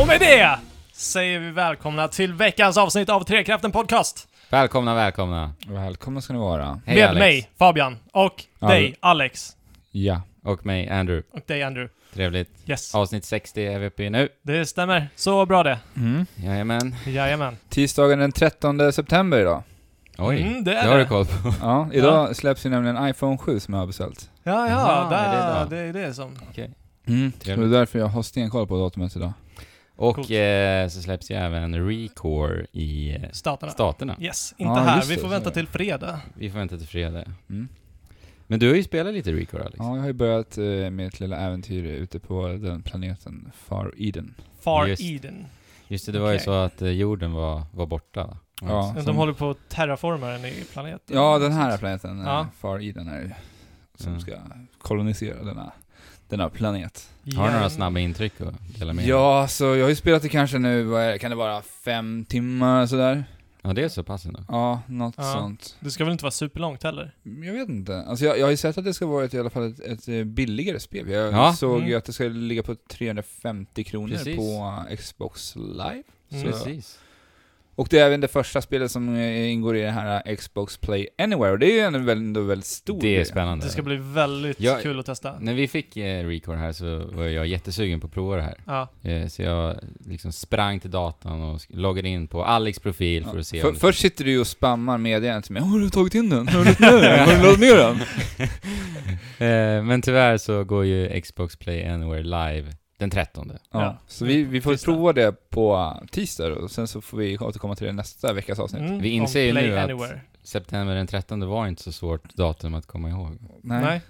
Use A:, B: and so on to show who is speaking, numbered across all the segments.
A: Och med det säger vi välkomna till veckans avsnitt av Trekraften Podcast.
B: Välkomna, välkomna.
C: Välkomna ska ni vara.
B: Hej
A: med
B: Alex.
A: mig, Fabian, och
C: Ja,
A: dig, Alex,
C: Ja.
B: Och mig, Andrew.
A: och dig, Andrew.
B: Trevligt.
A: Yes,
B: Avsnitt 60 är vi uppe i nu.
A: det stämmer. Så bra det.
C: Mm.
B: Jajamän.
A: Jajamän.
C: Tisdagen den 13 september idag.
B: Oj,
A: Mm, det
B: det
A: är
B: har
A: det.
B: du koll på.
C: Ja, idag släpps ju nämligen iPhone 7 som jag har beställt.
A: Ja, ja,
B: Jaha,
A: där,
B: är det
A: det är det som...
C: Mm. Så det
B: Trevligt.
C: är därför jag har stenkoll på datumet idag.
B: Och
A: Coolt.
B: eh, så släpps ju även Recore i eh,
A: Staterna.
B: Staterna.
A: Yes, inte
C: Ja,
A: här.
C: just
A: Vi
C: det,
A: får
C: så
A: vänta
C: är det.
A: till fredag.
B: Vi får vänta till fredag.
C: Mm.
B: Men du har ju spelat lite Recore Alex.
C: Ja, jag har ju börjat eh, mitt lilla äventyr ute på den planeten Far Eden.
A: Far
B: Just.
A: Eden.
B: Just det, det var ju
A: Okej.
B: så att eh, jorden var, var borta.
C: Ja.
A: De
C: Som-
A: håller på att terraforma den i planeten.
C: Ja, den här planeten, eh,
A: Ja.
C: Far Eden, är ju som
B: Mm.
C: ska kolonisera denna, denna planet.
B: Har du några
A: Jajamän.
B: snabba intryck att dela med dig?
C: Ja, så jag har ju spelat det kanske nu, vad är det, kan det vara fem timmar sådär?
B: ja, det är så pass ändå.
C: Ja, något
A: Ja.
C: sånt.
A: Det ska väl inte vara superlångt heller?
C: Jag vet inte. Alltså jag, jag har ju sett att det ska vara ett, i alla fall ett, ett eh, billigare spel. Jag
B: Ja.
C: såg ju
A: Mm.
C: att det ska ligga på 350 kronor
B: Precis.
C: på eh, Xbox Live.
A: Mm.
C: Så.
B: Precis.
C: Och det är även det första spelet som eh, ingår i det här eh, Xbox Play Anywhere. Och det är ju ändå väldigt, ändå väldigt stor
B: Det är
C: grej.
B: spännande.
A: Det ska bli väldigt
B: Jag-
A: kul att testa.
B: När vi fick eh, Recore här så var jag jättesugen på att prova det här.
A: Ja.
B: Eh, Så jag liksom sprang till datan och sk- loggade in på Alex profil för att se
C: För,
B: om...
C: först sitter du ju och spammar meddelandet till mig. Har du tagit in den? Har du laddat ner den? Har du laddat ner den?
B: Eh, Men tyvärr så går ju Xbox Play Anywhere live den 13.
A: Ja.
C: Ja. Så vi, vi får
A: Tisdag.
C: prova det på tisdag då, och sen så får vi återkomma till det nästa veckas avsnitt.
A: Mm.
B: Vi
A: om
B: inser ju
A: Play
B: nu att-
A: Anywhere.
B: September den 13 var inte så svårt datum att komma ihåg.
A: Nej.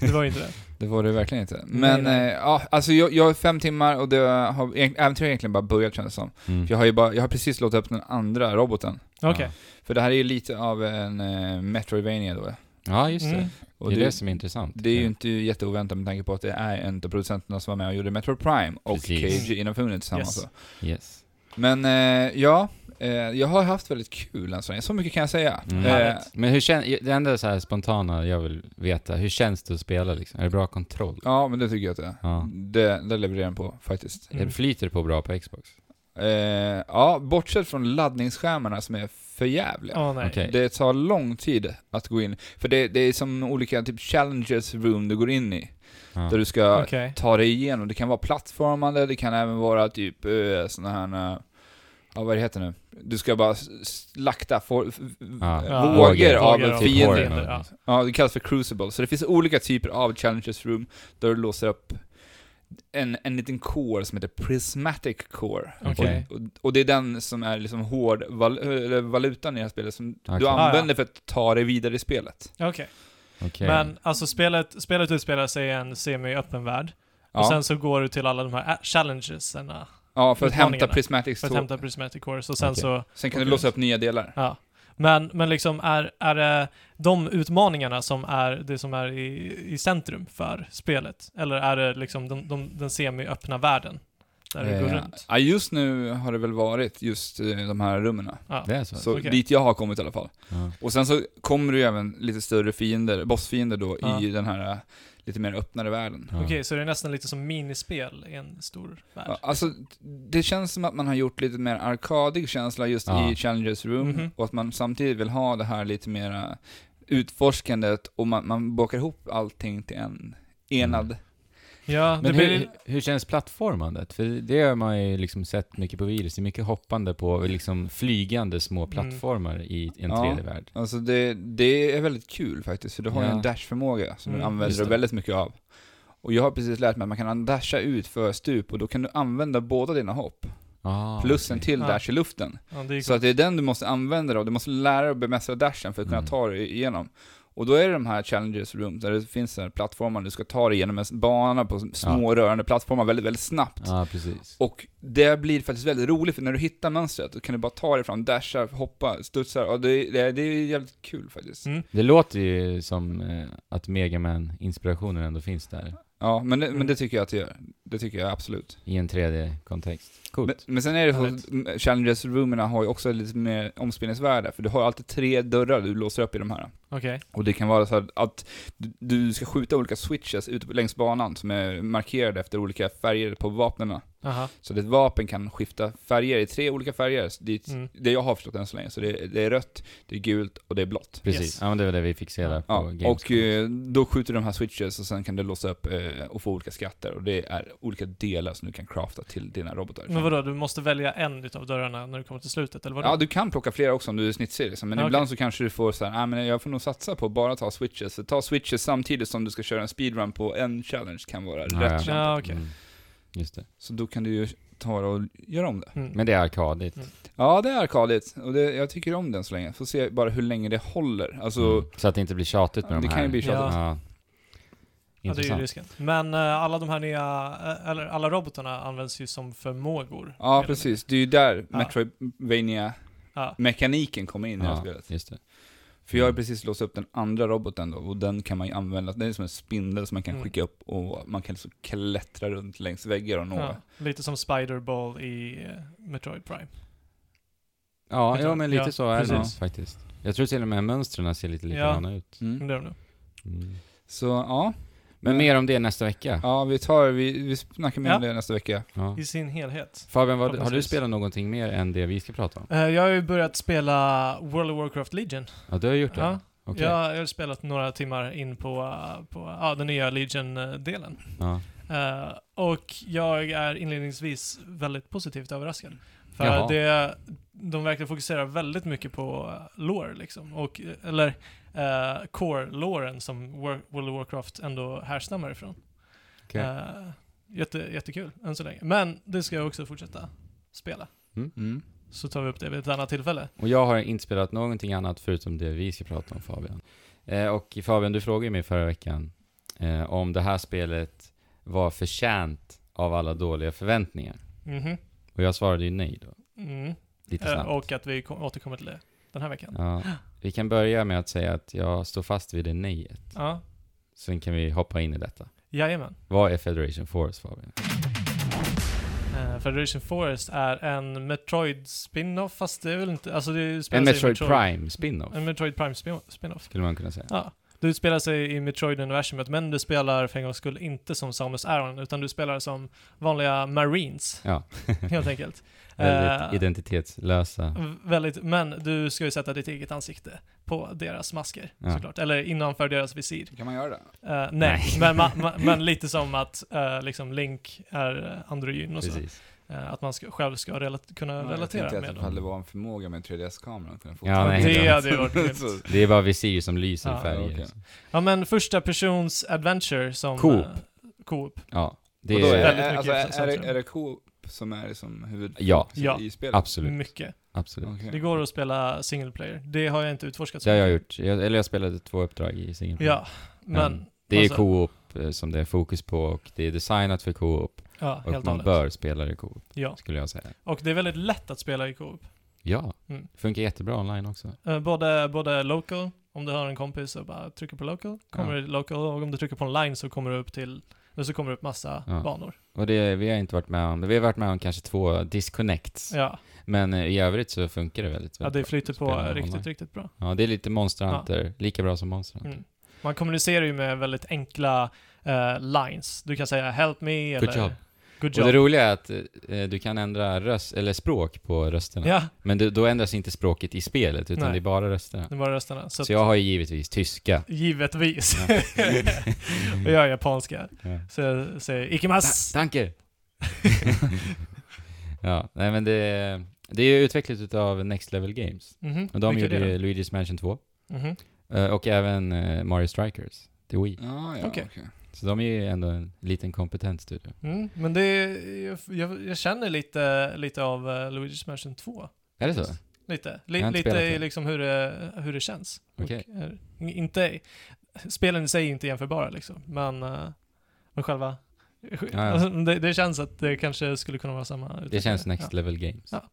A: det var ju inte det.
C: Det var det verkligen inte. Men
A: nej.
C: eh, ja, alltså jag, jag har fem timmar och det har egent- äventyret har egentligen bara börjat känns det som.
B: Mm.
C: För jag har ju bara, jag har precis låtit upp den andra roboten.
A: Okej.
C: För det här är ju lite av en eh, Metroidvania då.
B: Ja, just det.
A: Mm.
C: Och
B: det är
C: det,
B: det som är intressant. Eh,
C: det är ju inte jätteoväntat med tanke på att det är en av producenterna som var med och gjorde Metro Prime och
B: Precis.
C: Cage Infinite tillsammans.
A: Yes.
C: då.
B: Yes.
C: Men eh, ja, eh, jag har haft väldigt kul än så länge. Så mycket kan jag säga.
B: Mm.
C: Eh,
A: Härligt.
B: Men hur känns... Det enda så här spontana jag vill veta, hur känns det att spela liksom? Är det bra kontroll?
C: ja, men det tycker jag att det är.
B: Ja.
C: Det, det levererar den på faktiskt.
A: Mm.
B: Är det- Flyter det på bra på Xbox?
C: Eh, ja, bortsett från laddningsskärmarna som är för jävliga.
A: Åh, nej.
B: Okej.
C: Det tar lång tid att gå in, för det, det är som olika typ challenges room du går in i.
B: Ja.
C: Där du ska
A: Okej.
C: ta dig igenom. Det kan vara plattformande, det kan även vara typ eh, såna här... eh, Ja, vad det heter nu? Du ska bara s- slakta for, f- f-
B: Ja.
A: Ja.
C: vågor av
A: Vågor av
C: fiender.
A: fiender. ja.
C: Ja, det kallas för crucible. Så det finns olika typer av challenges room, där du låser upp en, en liten core som heter prismatic core.
A: Okej.
C: Och, och det är den som är liksom hård val, eller valutan i det här spelet som
B: Okej.
C: du
B: Ah,
A: ja.
C: använder för att ta dig vidare i spelet.
A: Okej.
B: Okej.
A: Men alltså spelet, spelet utspelar sig i en semi-öppen värld.
C: Ja,
A: Och sen så går du till alla de här ä- challengeserna
C: ja för att hämta
A: utmaningarna.
C: prismatics
A: för att
C: tå-
A: hämta prismatic cores och sen
B: Okej.
A: så,
C: Sen kan du
A: Okej.
C: låsa upp nya delar.
A: ja. Men, men liksom är, är det de utmaningarna som är det som är i, i centrum för spelet? Eller är det liksom de, de, den semi-öppna världen? Där du går
C: Eh,
A: runt?
C: Ja, just nu har det väl varit just eh, de här rummen.
A: Ja.
B: Det är så?
C: Så
A: Okej.
C: dit jag har kommit i alla fall.
B: Ja.
C: Och sen så kommer det ju även lite större fiender, bossfiender då,
A: Ja.
C: i den här eh, lite mer öppnare världen.
B: Ja.
A: Okej, så det är nästan lite som minispel i en stor värld?
C: Ja, Alltså, det känns som att man har gjort lite mer arkadig känsla just
B: Ja.
C: i Challengers Room,
A: Mhm.
C: och att man samtidigt vill ha det här lite mera utforskandet, och man, man bakar ihop allting till en enad...
B: Mm.
A: Ja, det
B: Men
A: blir...
B: hur, hur känns plattformandet? För det har man ju liksom sett mycket på videos. Det är mycket hoppande på och liksom flygande små
A: Mm.
B: plattformar i en
C: Ja.
B: 3D-värld.
C: Alltså det, det är väldigt kul faktiskt, för du har ju
B: Ja.
C: en dashförmåga som
A: Mm,
C: du använder
B: just det.
C: väldigt mycket av. Och jag har precis lärt mig att man kan dasha ut för stup, och då kan du använda båda dina hopp,
B: Ah,
C: plus
B: okej.
C: en typ. till
A: Ja.
C: dash i luften.
A: ja, det är
C: Så att det är den du måste använda då, du måste lära dig att bemästra dashen för att kunna
B: Mm.
C: ta dig igenom. Och då är det de här challenges room, där det finns så här plattformar, du ska ta dig igenom en bana på små rörande plattformar väldigt, väldigt snabbt.
B: Ja, precis.
C: Och det blir faktiskt väldigt roligt, för när du hittar mönstret, då kan du bara ta dig fram, dasha, hoppa, studsa, och det, det, det är jävligt kul faktiskt.
A: Mm.
B: Det låter ju som eh, att Megaman-inspirationen ändå finns där.
C: Ja, men det,
A: Mm.
C: men det tycker jag att det gör. Det tycker jag absolut.
B: I en 3D-kontext.
C: Men,
B: Coolt.
C: men sen är det så
A: Härligt.
C: att mm, challenges roomerna har ju också lite mer omspelningsvärde, för du har alltid tre dörrar du låser upp i de här.
A: Okej.
C: Och det kan vara så här att du- du ska skjuta olika switches ute på- längs banan som är markerade efter olika färger på vapnena.
A: Aha.
C: Så ditt vapen kan skifta färger i tre olika färger. Så Det, är-
A: Mm.
C: det jag har förstått än så länge. Så det, det är rött, det är gult och det är blått.
B: Precis,
A: Yes.
B: ja men det var det vi fick se där på
C: Ja,
B: Gamescom.
C: och eh, då skjuter de här switches och sen kan du låsa upp eh, och få olika skatter. Och det är olika delar som du kan crafta till dina robotar.
A: Men vadå, du måste välja en utav dörrarna när du kommer till slutet, eller vadå?
C: Ja, du kan plocka flera också om du är snitsig liksom. Men
A: Ja,
C: ibland så kanske du får så här, "Ah, men jag får nog satsa på att bara ta switches. Så ta switches samtidigt som du ska köra en speedrun på en challenge kan vara
B: Ja,
C: rätt.
B: ja.
A: Ja, okej.
B: Mm. Just det.
C: Så då kan du ju ta det och göra om det.
A: Mm.
B: Men det är arkadigt.
C: Ja, det är arkadigt. Och det, jag tycker om den så länge. Får se bara hur länge det håller. Alltså,
B: Mm. Så att det inte blir tjatigt med
C: Ja,
B: de
C: det
B: här.
C: kan ju bli
A: tjatigt.
B: Ja.
A: Ja, det är ju
B: Intressant.
A: risken. Men eh, alla de här nya, eh, eller alla robotarna används ju som förmågor. mer
C: ja
A: eller
C: precis. Det är ju där
A: Ja.
C: metroidvania
A: mindre. Ja.
C: mekaniken kommer in i det här
B: ja, Mm.
C: spelet.
B: just det.
C: För jag har precis låst upp den andra roboten då, och den kan man ju använda, den är som en spindel som man kan
A: Mm.
C: skicka upp och man kan liksom klättra runt längs väggar och nå.
A: Ja. Lite som Spider-Ball i eh, Metroid Prime.
B: Ja,
A: Vet
B: ja
A: du?
B: men lite
A: Ja,
B: så är det nog
A: precis.
B: faktiskt. Jag tror till och med mönstren ser lite likadana ut.
A: Men
C: Mm.
A: det är de nu.
B: Mm.
C: Så ja,
B: Men
C: Ja.
B: mer om det nästa vecka.
C: ja vi tar, vi, vi snackar mer om
A: Ja.
C: det nästa vecka.
B: Ja.
A: I sin helhet.
B: Fabian, vad, har du
A: Förhoppningsvis.
B: spelat någonting mer än det vi ska prata om?
A: Eh, jag har ju börjat spela World of Warcraft Legion.
B: Ja, du har gjort det?
A: Ja.
B: Okej.
A: Jag, jag har spelat några timmar in på, eh, på ja, den nya Legion-delen.
B: Ja.
A: Eh, och jag är inledningsvis väldigt positivt överraskad.
B: Jaha.
A: För det, de verkar fokusera väldigt mycket på eh, lore liksom. Och, eh, eller eh, core-loren som War- World of Warcraft ändå härstammar ifrån.
B: Okej.
A: Eh, jätte, jättekul än så länge. Men det ska jag också fortsätta spela.
C: Mm.
A: Så tar vi upp det vid ett annat tillfälle.
B: Och jag har inte spelat någonting annat förutom det vi ska prata om Fabian. Eh, och Fabian, du frågade ju mig förra veckan eh, om det här spelet var förtjänt av alla dåliga förväntningar.
A: Mhm.
B: Och jag svarade ju nej då,
A: Mm.
B: lite
A: Eh,
B: snabbt.
A: och att vi kom, återkommer till det den här veckan.
B: Ja, vi kan börja med att säga att jag står fast vid det nejet.
A: Ja.
B: Sen kan vi hoppa in i detta.
A: Jajamän.
B: Vad är Federation Force Fabian?
A: Eh, Federation Forest är en Metroid spin-off fast det är väl inte, alltså det utspelar
B: En
A: sig i
B: Metroid Prime spin-off,
A: En Metroid Prime spin- spin-off.
B: skulle man kunna säga.
A: Ja. Du utspelar sig i Metroid-universumet men du spelar för en gångs skull inte som Samus Aran utan du spelar som vanliga Marines
B: Ja,
A: helt enkelt.
B: väldigt
A: Eh,
B: identitetslösa.
A: v- väldigt, men du ska ju sätta ditt eget ansikte på deras masker
B: Ja.
A: såklart, eller innanför deras visir.
C: Kan man göra det?
A: Eh, nej,
B: Nej.
A: Men, ma- ma- men lite som att eh, liksom Link är eh, androgyn och så.
B: Precis.
A: Eh, att man ska, själv ska relat- kunna
C: jag
A: relatera
C: tänkte
A: med
C: att
A: dem.
C: ifall det var en förmåga med 3DS-kameran att kunna få
B: Ja, nej,
A: det
B: då.
A: hade ju varit
C: Så-
A: grymt.
B: Det är bara visir som lyser i
A: Ja,
B: färger.
C: okej.
B: liksom.
A: Ja men första persons adventure som...
B: Coop.
A: eh, Coop.
B: Ja, det
C: Och då är,
B: är...
A: väldigt
C: det, alltså,
A: mycket
C: är, är, det,
A: centrum.
C: är det Coop som är som huvud
B: Ja,
A: Ja.
C: i spelet?
B: absolut.
A: Mycket.
B: absolut.
C: Okej.
A: Det går att spela single player. Det har jag inte utforskat
B: Det har jag gjort. Jag, eller jag spelade två uppdrag i single player.
A: Ja, men...
B: Mm. Det är
A: alltså,
B: co-op eh, som det är fokus på och det är designat för co-op.
A: Ja,
B: Och
A: helt och
B: man
A: hållet.
B: bör spela det co-op,
A: Ja.
B: skulle jag säga.
A: Och det är väldigt lätt att spela i Coop.
B: Ja,
A: Mm.
B: funkar jättebra online också.
A: Eh, både, både local, om du har en kompis och bara trycker på local, kommer
B: Ja.
A: du local. Och om du trycker på online så kommer du upp till... eller så kommer det upp massa
B: Ja.
A: banor.
B: Och det, vi har inte varit med om, vi har varit med om kanske två disconnects.
A: Ja,
B: Men eh, i övrigt så funkar det väldigt, väldigt
A: ja det
B: bra.
A: flyter på
B: Spela
A: riktigt,
B: online.
A: riktigt bra.
B: Ja, det är lite Monster
A: Ja.
B: Hunter, lika bra som Monster Hunter.
A: Mm. Man kommunicerar ju med väldigt enkla eh, lines. Du kan säga 'Help me'
B: Good
A: eller
B: job.
A: Good
B: Och det
A: job.
B: roliga är att eh, du kan ändra röst, eller språk på rösterna.
A: ja,
B: Men du, då ändras inte språket i spelet, utan
A: Nej.
B: det är bara rösterna.
A: det var rösterna. Så,
B: Så,
A: att-
B: jag har ju givetvis tyska.
A: givetvis. och jag är japanska.
B: Ja.
A: Så jag säger 'Ikimas'.
B: Tanker! ja, nej men det, det är ju utvecklat utav Next Level Games.
A: Mhm,
B: Och de
A: vilka
B: gjorde
A: är det
B: ju Luigi's Mansion 2
A: då? Mhm.
B: eh, och även eh, Mario Strikers till Wii.
C: Ah, ja,
A: Okej.
C: okej.
B: Så de är ju ändå en liten kompetent studio.
A: Mm, men det är, jag, jag, jag känner lite, lite av eh, Luigi's Mansion 2.
B: Är det så?
A: Lite.
B: Jag har
A: Li,
B: inte
A: lite
B: spelat
A: i
B: det.
A: liksom hur det, hur det känns. Och,
B: Okej.
A: eh, in- inte, spelen i sig är inte jämförbara liksom, men, eh, men själva...
B: ja.
A: Alltså, det, det känns att det kanske skulle kunna vara samma
B: Det
A: utvecklare.
B: känns Next
A: ja,
B: Level Games.
A: Ja.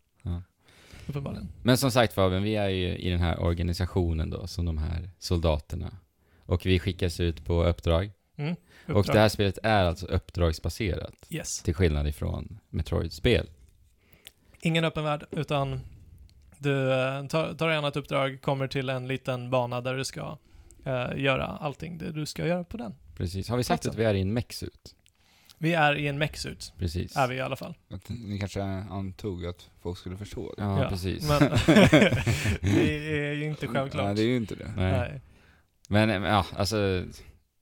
A: uppenbarligen.
B: Men som sagt Fabian, vi är ju i den här organisationen då, som de här soldaterna. Och vi skickas ut på uppdrag. Och
A: Uppdrag.
B: det här spelet är alltså uppdragsbaserat,
A: Yes.
B: till skillnad ifrån Metroid-spel.
A: Ingen öppen värld, utan du eh, tar, tar gärna ett uppdrag, kommer till en liten bana där du ska eh, göra allting det du ska göra på den.
B: Precis. Har vi sagt
A: Platsen.
B: att vi är i en mexut?
A: Vi är i en mech-suit,
B: Precis.
A: är vi i alla fall.
C: Att ni kanske antog att folk skulle förstå det.
B: Ja,
A: Ja,
B: precis.
A: Men det är ju inte
C: Nej,
A: självklart.
C: det är ju inte det.
B: Nej.
A: Nej.
B: Men eh, men, ja, alltså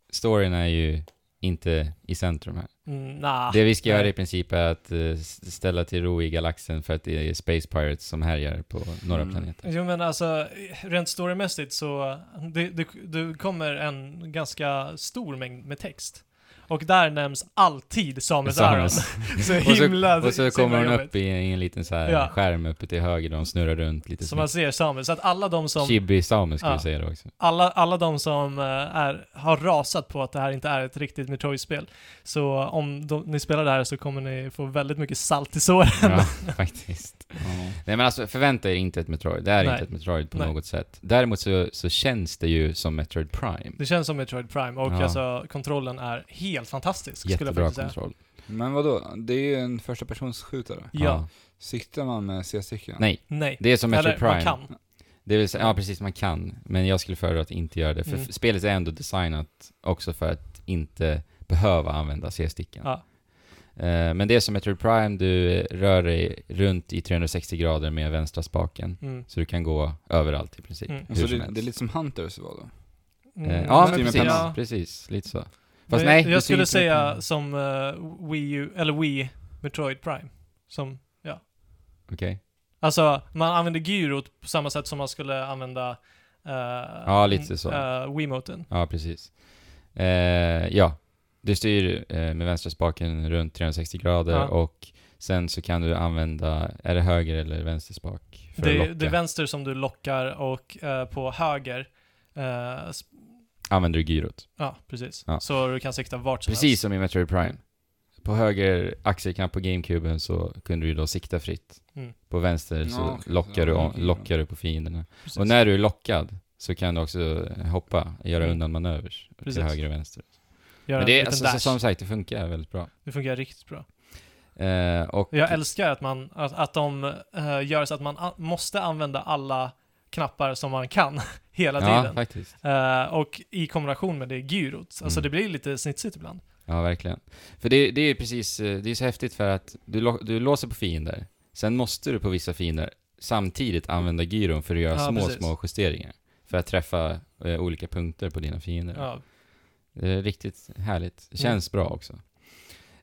B: storyn är ju inte i centrum här.
A: Mm, nah.
B: det vi ska
A: nej.
B: göra i princip är att eh, s- ställa till ro i galaxen för att det är Space Pirates som härjar på några
C: Mm.
B: planeter.
A: Jo men alltså, rent storymässigt så, det, det, det kommer en ganska stor mängd med text. Och där nämns alltid Samus Aran.
B: Samus.
A: Så
B: Och så-
A: himla
B: Och så
A: så himla
B: kommer hon
A: jobbigt.
B: upp i, i en liten så här
A: Ja.
B: skärm uppe till höger där hon snurrar runt lite
A: Så man
B: snyggt.
A: ser Samus. Så att alla de som
B: Chibi Samus skulle
A: Ja.
B: jag säga då också.
A: alla, alla de som eh, är, har rasat på att det här inte är ett riktigt Metroid-spel. Så om de, ni spelar det här så kommer ni få väldigt mycket salt i såren.
B: Ja, faktiskt.
C: Ja.
B: Nej men alltså förvänta er inte ett Metroid. Det här är
A: Nej.
B: inte ett Metroid på
A: Nej.
B: något sätt. Däremot så, så känns det ju som Metroid Prime.
A: Det känns som Metroid Prime och
B: Ja.
A: alltså kontrollen är helt fantastisk skulle
B: Jättebra
A: jag faktiskt säga.
B: kontroll.
C: Men vadå, det är ju en första skjutare.
A: Ja.
C: Siktar man med C-stycken?
B: Nej,
A: Nej.
B: det är som Metroid
A: Eller
B: Prime.
A: man kan.
B: Det vill säga, ja precis, man kan. Men jag skulle föredra att inte göra det, för
A: Mm.
B: f- spelet är ändå designat också för att inte behöva använda C-sticken.
A: Ja.
B: Eh, men det är som Metroid Prime, du rör dig runt i 360 grader med vänstra spaken.
A: Mm.
B: Så du kan gå överallt i princip.
A: Mm.
B: Hur
C: Så
B: som
C: Alltså, det,
B: helst.
C: det är lite som Hunters var då?
A: Mm.
B: Eh, ja, men
C: Steam
B: precis,
C: Pennan.
B: precis. Lite så.
A: Men
B: Fast nej,
A: jag,
B: du ser
A: jag skulle
B: inte-
A: säga som eh, Wii U, eller Wii Metroid Prime. Som, ja.
B: Okej.
A: Alltså, man använder gyrot på samma sätt som man skulle använda uh,
B: Ja, lite så.
A: Wiimoten.
B: Ja, precis. Eh, ja, du styr eh, med vänstra spaken runt 360 grader
A: Ja.
B: och sen så kan du använda, är det höger eller vänster spak? För att
A: Det,
B: locka.
A: det är vänster som du lockar och eh, på höger, eh, sp-
B: Använder du gyrot.
A: ja precis.
B: Ja.
A: Så du kan sikta vart som
B: Precis som i Metroid Prime. På höger axelknapp på GameCuben så kunde du då sikta fritt.
A: Mm.
B: På vänster så
C: Ja, okej.
B: lockar,
C: Ja,
B: du, lockar du på fienderna.
A: helst.
B: Och
A: Precis.
B: när du är lockad så kan du också eh, hoppa, göra
A: Mm.
B: undan manövers
A: Precis.
B: till höger och vänster.
A: Gör
B: Men
A: en
B: det, är-
A: liten
B: alltså,
A: dash.
B: som sagt, det funkar väldigt bra.
A: Det fungerar riktigt bra.
B: Eh, och
A: Jag älskar att, man, att, att de eh, gör så att man a- måste använda alla knappar som man kan hela
B: Ja,
A: tiden.
B: faktiskt.
A: Eh, och i kombination med det gyrot. Alltså
B: Mm.
A: det blir lite snitsigt ibland.
B: Ja, verkligen. För det, det är ju precis, eh, det är så häftigt för att du, lo- du låser på fiender, sen måste du på vissa fiender samtidigt använda gyron för att göra
A: Ja,
B: små,
A: precis.
B: små justeringar. För att träffa eh, olika punkter på dina fiender.
A: Ja. Mm.
B: Det är riktigt härligt. Det känns bra också.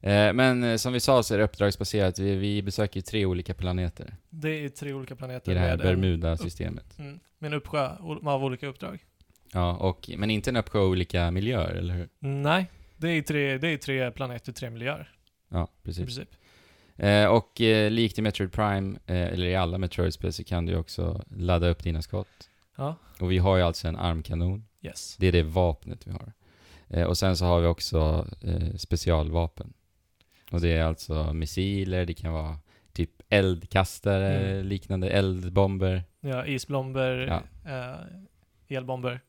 B: Eh, men eh, som vi sa så är det uppdragsbaserat. Vi, vi besöker ju tre olika planeter
A: Det är tre olika planeter
B: i det här
A: med, en,
B: Bermuda-systemet.
A: mm, med en uppsjö o- av olika uppdrag.
B: Ja, och, men inte en uppsjö olika miljöer, eller hur?
A: Nej, det är tre, det är tre planeter, tre miljöer
B: Ja,
A: i
B: precis.
A: princip.
B: Eh, och eh, likt i Metroid Prime, eh, eller i alla Metroid-spel, så kan du ju också ladda upp dina skott.
A: Ja.
B: Och vi har ju alltså en armkanon.
A: Yes.
B: Det är det vapnet vi har. Eh, och sen så har vi också eh, specialvapen. Och det är alltså missiler, det kan vara typ eldkastare,
A: Mm.
B: liknande eldbomber.
A: Ja, isbomber,
B: Ja.
A: eh, elbomber,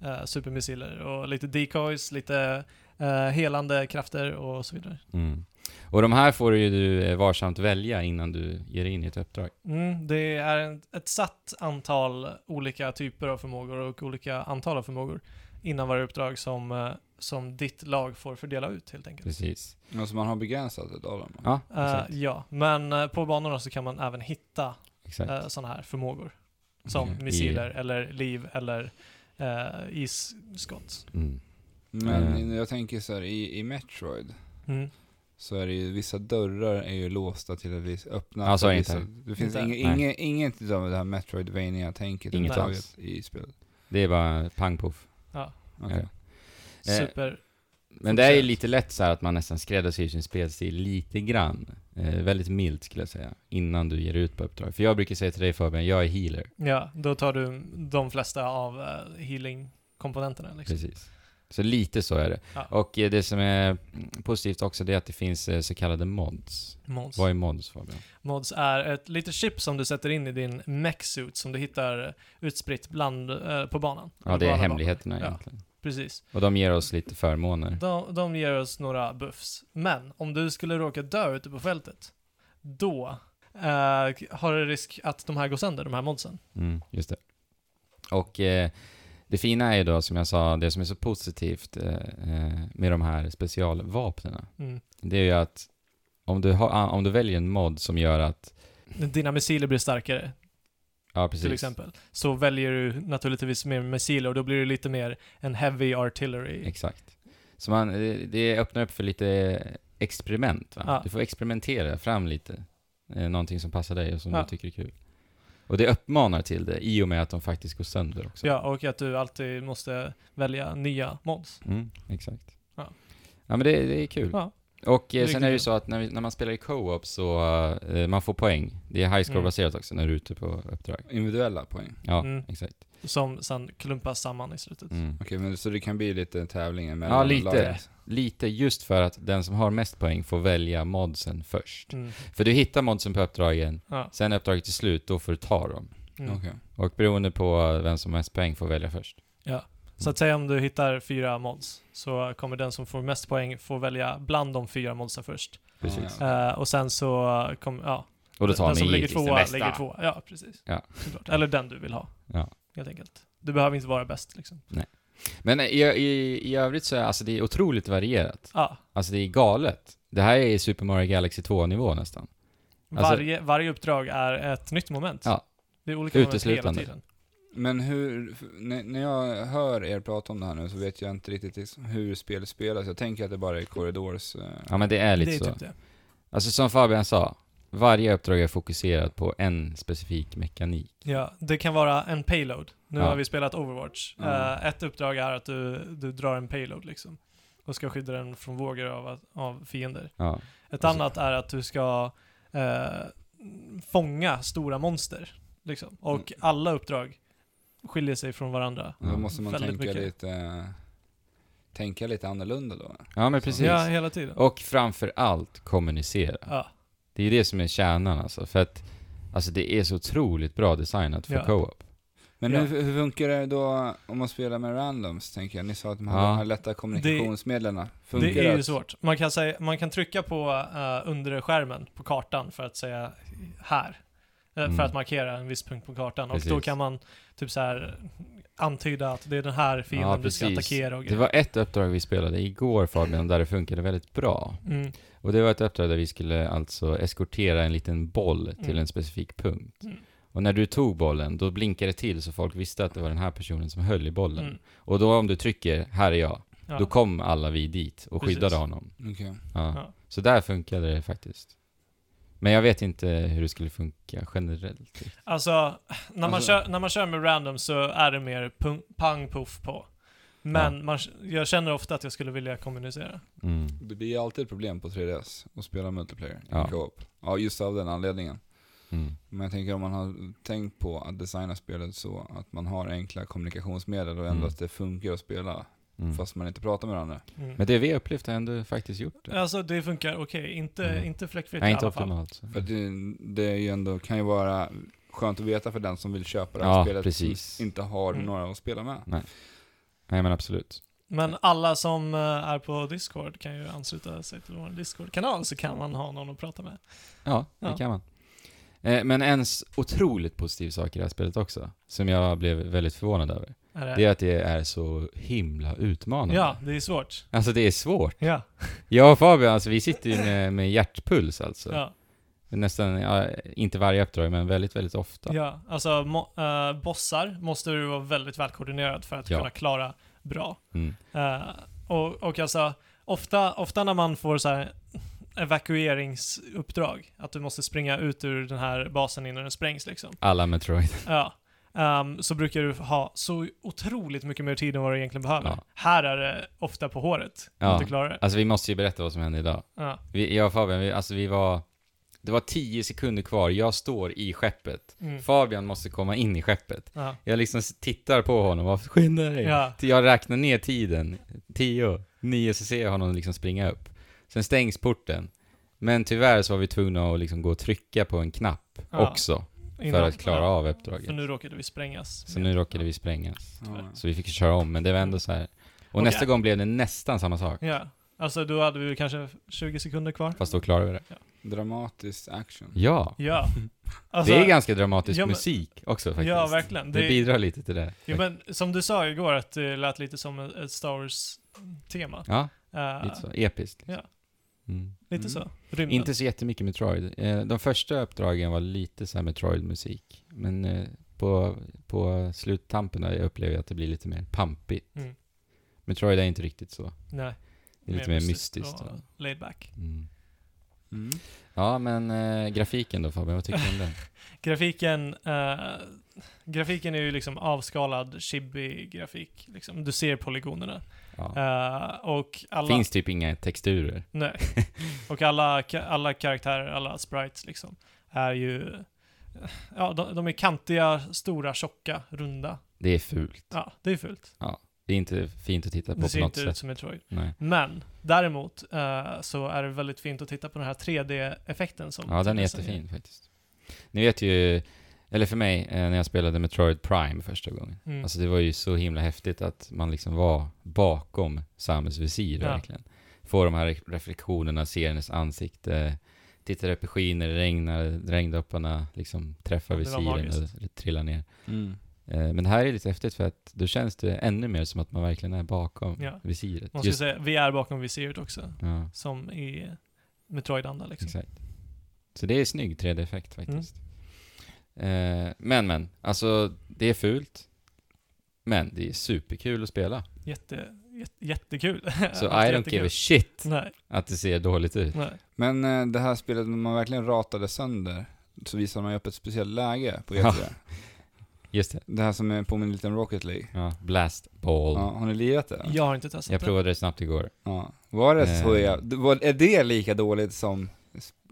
A: eh, supermissiler och lite decoys, lite eh, helande krafter och så vidare.
B: Mm. Och de här får ju du eh, varsamt välja innan du ger dig in i ett uppdrag.
A: Mm, det är en, ett satt antal olika typer av förmågor och olika antal av förmågor innan varje uppdrag som, eh, som ditt lag får fördela ut helt enkelt.
B: Precis.
C: Alltså man har begränsat ett av dem?
B: Ja,
A: Eh,
B: exakt.
A: ja, men eh, på banorna så kan man även hitta
B: exakt.
A: eh, sådana här förmågor. Som
B: Okej.
A: missiler eller liv eller eh, isskott.
B: Mm.
C: Men
B: Mm.
C: jag tänker så här, i, i Metroid
A: Mm.
C: så är det ju, vissa dörrar är ju låsta till att vis, öppna.
B: Ja, så är det
C: vissa,
B: inte.
C: Det finns
A: Inte.
C: inget,
B: Nej.
C: inget, inget utav det här metroidvania tänket
B: Inget alls.
C: överhuvudtaget i spelet.
B: Det är bara pang poff.
A: Ja,
C: Okej.
B: Ja. Eh,
A: super.
B: Men det är ju
A: Fortsätt.
B: lite lätt så här att man nästan skräddarsyr sin spelstil lite grann. Eh, väldigt milt skulle jag säga, innan du ger ut på uppdrag. För jag brukar säga till dig Fabian, jag är healer.
A: Ja, då tar du de flesta av eh, healing-komponenterna. Liksom.
B: Precis. Så lite så är det.
A: Ja.
B: Och eh, det som är mm, positivt också det är att det finns eh, så kallade mods.
A: Mods.
B: Vad är mods Fabian?
A: Mods är ett litet chip som du sätter in i din mech-suit som du hittar utspritt bland, eh, på banan.
B: Ja, det
A: På
B: är
A: alla
B: hemligheterna
A: Ja.
B: egentligen.
A: banor. Precis.
B: Och de ger oss lite förmåner.
A: De, de ger oss några buffs. Men om du skulle råka dö ute på fältet, då eh, har du risk att de här går sönder, de här modsen.
B: Mm, just det. Och eh, Det fina är ju då, som jag sa, det som är så positivt eh, eh, med de här specialvapnena,
A: Mm.
B: det är ju att om du, har, om du väljer en mod som gör att,
A: Dina missiler blir starkare,
B: ja precis,
A: till exempel. Så väljer du naturligtvis mer missiler och då blir det lite mer en heavy artillery.
B: Exakt. Så man, eh, det öppnar upp för lite experiment. Va?
A: Ja.
B: Du får experimentera fram lite. Eh, Någonting som passar dig och som
A: Ja.
B: du tycker är kul. Och det uppmanar till det i och med att de faktiskt går sönder också.
A: Ja, och att du alltid måste välja nya mods.
B: Mm, exakt.
A: Ja.
B: Ja, men det, det är kul.
A: Ja.
B: Och eh,
A: Riktigt
B: sen är det ju
A: kul.
B: så att när, vi, när man spelar i co-op så eh, man får poäng. Det är high score-baserat också när du är ute på uppdrag.
C: Individuella poäng.
B: Ja,
A: Mm.
B: exakt.
A: Som sen klumpas samman i slutet.
B: Mm.
C: Okej, men så det kan bli lite tävlingen mellan
B: Ja, lite.
C: lagen.
B: Lite just för att den som har mest poäng får välja modsen först.
A: Mm.
B: För du hittar modsen på uppdragen
A: Ja.
B: Sen är uppdraget till slut, då får du ta dem.
A: Mm.
C: Okej.
B: Och beroende på vem som har mest poäng får välja först.
A: Så att säga om du hittar fyra mods så kommer den som får mest poäng få välja bland de fyra modsen först.
C: Precis.
B: Ja.
A: Eh, och sen så kommer, ja,
B: Och då tar
A: den
B: man
A: som ligger
B: givetvis den
A: tvåa
B: bästa.
A: ligger tvåa. Ja, precis.
B: Ja.
A: Såklart. Eller den du vill ha,
B: Ja.
A: helt enkelt. Du behöver inte vara bäst liksom.
B: Men i, i, i övrigt så är alltså, det är otroligt varierat.
A: Ja,
B: Alltså det är galet. Det här är Super Mario Galaxy 2-nivå nästan. Alltså-
A: varje, varje uppdrag är ett nytt moment.
B: Ja.
A: Det är olika moment hela
B: Uteslutande.
A: tiden.
C: Men hur, f- när, när jag hör er prata om det här nu så vet jag inte riktigt liksom hur spel spelas. Jag tänker att det bara är korridors... eh,
B: Ja men det är lite
A: det är
B: så.
A: typ det.
B: Alltså som Fabian sa, varje uppdrag är fokuserat på en specifik mekanik.
A: Ja, det kan vara en payload. Nu
B: Ja.
A: har vi spelat Overwatch.
C: Mm.
A: Eh, ett uppdrag är att du, du drar en payload liksom. Och ska skydda den från vågor av, av fiender.
B: Ja.
A: Ett
B: Alltså-
A: annat är att du ska eh, fånga stora monster. Liksom.
B: Mm.
A: Och alla uppdrag skiljer sig från varandra.
C: Då måste man
A: Väldigt
C: tänka
A: mycket.
C: lite... eh, Tänka lite annorlunda då.
B: ja men precis.
A: Ja, hela tiden.
B: Och framför allt kommunicera.
A: Ja,
B: Det är det som är kärnan alltså. För att alltså, det är så otroligt bra designat för
A: Ja.
B: co-op.
C: Men
A: Ja.
C: hur, hur funkar det då om man spelar med randoms, tänker jag? Ni sa att de har
B: Ja.
C: de här lätta kommunikationsmedlen. Funkar
A: det är ju
C: att-
A: svårt. Man kan, säga, man kan trycka på eh, under skärmen på kartan för att säga här. Eh,
B: Mm.
A: För att markera en viss punkt på kartan. Och då
B: Precis.
A: kan man typ så här antyda att det är den här fienden
B: Ja,
A: du ska
B: precis.
A: attackera och
B: Det
A: grejer.
B: var ett uppdrag vi spelade igår Fabian, där det funkade väldigt bra.
A: Mm.
B: Och det var ett uppdrag där vi skulle alltså eskortera en liten boll till
A: Mm.
B: en specifik punkt.
A: Mm.
B: Och när du tog bollen, då blinkade det till så folk visste att det var den här personen som höll i bollen.
A: Mm.
B: Och då om du trycker ”Här är jag”,
A: Ja.
B: då kom alla vi dit och
A: Precis.
B: skyddade honom.
C: Okej.
B: Ja.
A: Ja.
B: Så där funkade det faktiskt. Men jag vet inte hur det skulle funka generellt.
A: Alltså, när man,
C: Alltså-
A: Kör, när man kör med random så är det mer pung, pang puff på. Men man, jag känner ofta att jag skulle vilja kommunicera.
B: Mm.
C: Det blir ju alltid ett problem på 3DS att spela multiplayer
B: Ja.
C: i co-op. Ja, just av den anledningen.
B: Mm.
C: Men jag tänker om man har tänkt på att designa spelet så att man har enkla kommunikationsmedel och ändå
B: Mm.
C: att det funkar att spela
B: Mm.
C: fast man inte pratar med varandra.
A: Mm.
B: Men det vi upplevt har ändå faktiskt gjort det.
A: alltså det funkar okej, inte,
B: Mm.
A: inte fläckfritt
B: Nej,
A: i
B: inte
A: alla fall.
B: optimalt. Så.
C: För att det,
B: Mm.
C: det är ju ändå, kan ju vara skönt att veta för den som vill köpa det här
B: Ja,
C: spelet
B: precis.
C: som inte har
A: Mm.
C: några att spela med.
B: Nej, men absolut.
A: Men alla som eh, är på Discord kan ju ansluta sig till vår Discord-kanal så kan man ha någon att prata med.
B: Ja, det
A: Ja.
B: kan man. Eh, Men en s- otroligt positiv sak i det här spelet också, som jag blev väldigt förvånad över,
A: Är det?
B: det är att det är så himla utmanande.
A: ja, det är svårt.
B: Alltså det är svårt.
A: Ja,
B: Jag och Fabian, alltså vi sitter ju med, med hjärtpuls alltså.
A: ja,
B: Nästan, ja, inte varje uppdrag, men väldigt, väldigt ofta.
A: ja. Alltså mo- eh, bossar måste du vara väldigt välkoordinerad för att
B: Ja.
A: kunna klara bra.
B: Mm.
A: Eh, och, och alltså, ofta, ofta när man får så här evakueringsuppdrag, att du måste springa ut ur den här basen innan den sprängs liksom.
B: Alla Metroid.
A: Ja. Ehm, så brukar du ha så otroligt mycket mer tid än vad du egentligen behöver.
B: Ja.
A: Här är det ofta på håret,
B: Ja.
A: om du klarar det.
B: Alltså vi måste ju berätta vad som hände idag.
A: Ja.
B: Vi, jag och Fabian, vi, alltså vi var... Det var tio sekunder kvar, jag står i skeppet.
A: Mm.
B: Fabian måste komma in i skeppet.
A: Ja.
B: Jag liksom tittar på honom, bara skynda dig.
A: Ja.
B: Till Jag räknar ner tiden, 10, 9, så ser jag honom liksom springa upp. Sen stängs porten. Men tyvärr så var vi tvungna att liksom gå och trycka på en knapp
A: Ja.
B: också, för
A: Innan- Mm.
B: att klara av uppdraget.
A: För nu råkade vi sprängas.
B: Så nu råkade vi sprängas.
C: Ja.
B: Så vi fick köra om, men det var ändå så här. Och
A: Okej.
B: nästa gång blev det nästan samma sak,
A: Ja. Alltså då hade vi kanske 20 sekunder kvar.
B: fast då klarade vi det.
C: Dramatisk action.
B: Ja.
A: Ja. Alltså,
B: det är ganska dramatisk
A: ja, men-
B: musik också faktiskt.
A: Ja, verkligen.
B: Det,
A: Det,
B: bidrar lite till det.
A: ja, men, som du sa igår, att det lät lite som ett ett Star Wars-tema.
B: Ja,
A: Eh,
B: lite så. Episkt. liksom.
A: Ja.
B: Mm.
A: lite
C: Mm.
A: så. Rymden.
B: Inte så jättemycket Metroid. Eh, De första uppdragen var lite så här Metroid-musik. Men eh, på, på sluttampen där jag upplever jag att det blir lite mer pampigt.
A: Mm.
B: Metroid är inte riktigt så.
A: Nej.
B: Det är lite mer mystiskt.
A: och Laid back.
B: Mm.
C: Mm.
B: Ja, men eh, grafiken då Fabian, vad tycker du om den?
A: Grafiken, eh, grafiken är ju liksom avskalad chibi-grafik. Liksom. Du ser polygonerna.
B: Ja.
A: Eh, och alla...
B: Finns typ inga texturer.
A: Nej. Och alla, ka- alla karaktärer, alla sprites liksom, är ju... Ja, de, de är kantiga, stora, tjocka, runda.
B: Det är fult.
A: Ja, det är fult.
B: Det är inte fint att titta på
A: Det
B: på
A: ser
B: något
A: inte ut
B: sätt.
A: som Metroid.
B: Nej.
A: Men däremot eh, så är det väldigt fint att titta på den här 3D-effekten som...
B: Ja, den är
A: som-
B: jättefin faktiskt. Ni vet ju, eller för mig, eh, när jag spelade Metroid Prime första gången.
A: Mm.
B: Alltså det var ju så himla häftigt att man liksom var bakom Samus visir
A: Ja.
B: verkligen. Får de här re- reflektionerna, ser hennes ansikte, tittar upp i skiner, det regnar, regndropparna liksom träffar
A: Ja, det var
B: visiren
A: magiskt.
B: och trillar ner.
C: Mm.
B: Eh, Men det här är lite häftigt för att då känns det ännu mer som att man verkligen är bakom
A: Ja.
B: visiret.
A: Man skulle säga, vi är bakom visiret också.
B: ja,
A: Som i Metroid-anda liksom.
B: exakt. Så det är snygg 3D-effekt
A: Mm.
B: faktiskt. Eh, Men men, alltså det är fult. Men det är superkul att spela.
A: Jätte, jätte, jättekul. Alltså,
B: Så I don't give a shit
A: Nej,
B: Att det ser dåligt ut.
A: nej.
C: Men eh, det här spelet, när man verkligen ratade sönder, så visade man ju upp ett speciellt läge på
B: Ja.
C: E3.
B: Just det.
C: det här som är på min liten Rocket League.
B: Ja. Blast ball.
C: Ja, har ni lirat det?
A: Jag har inte testat
B: Jag
A: det.
B: provade det snabbt igår.
C: Ja. Var det så
B: Eh.
C: jag, var, är det lika dåligt som...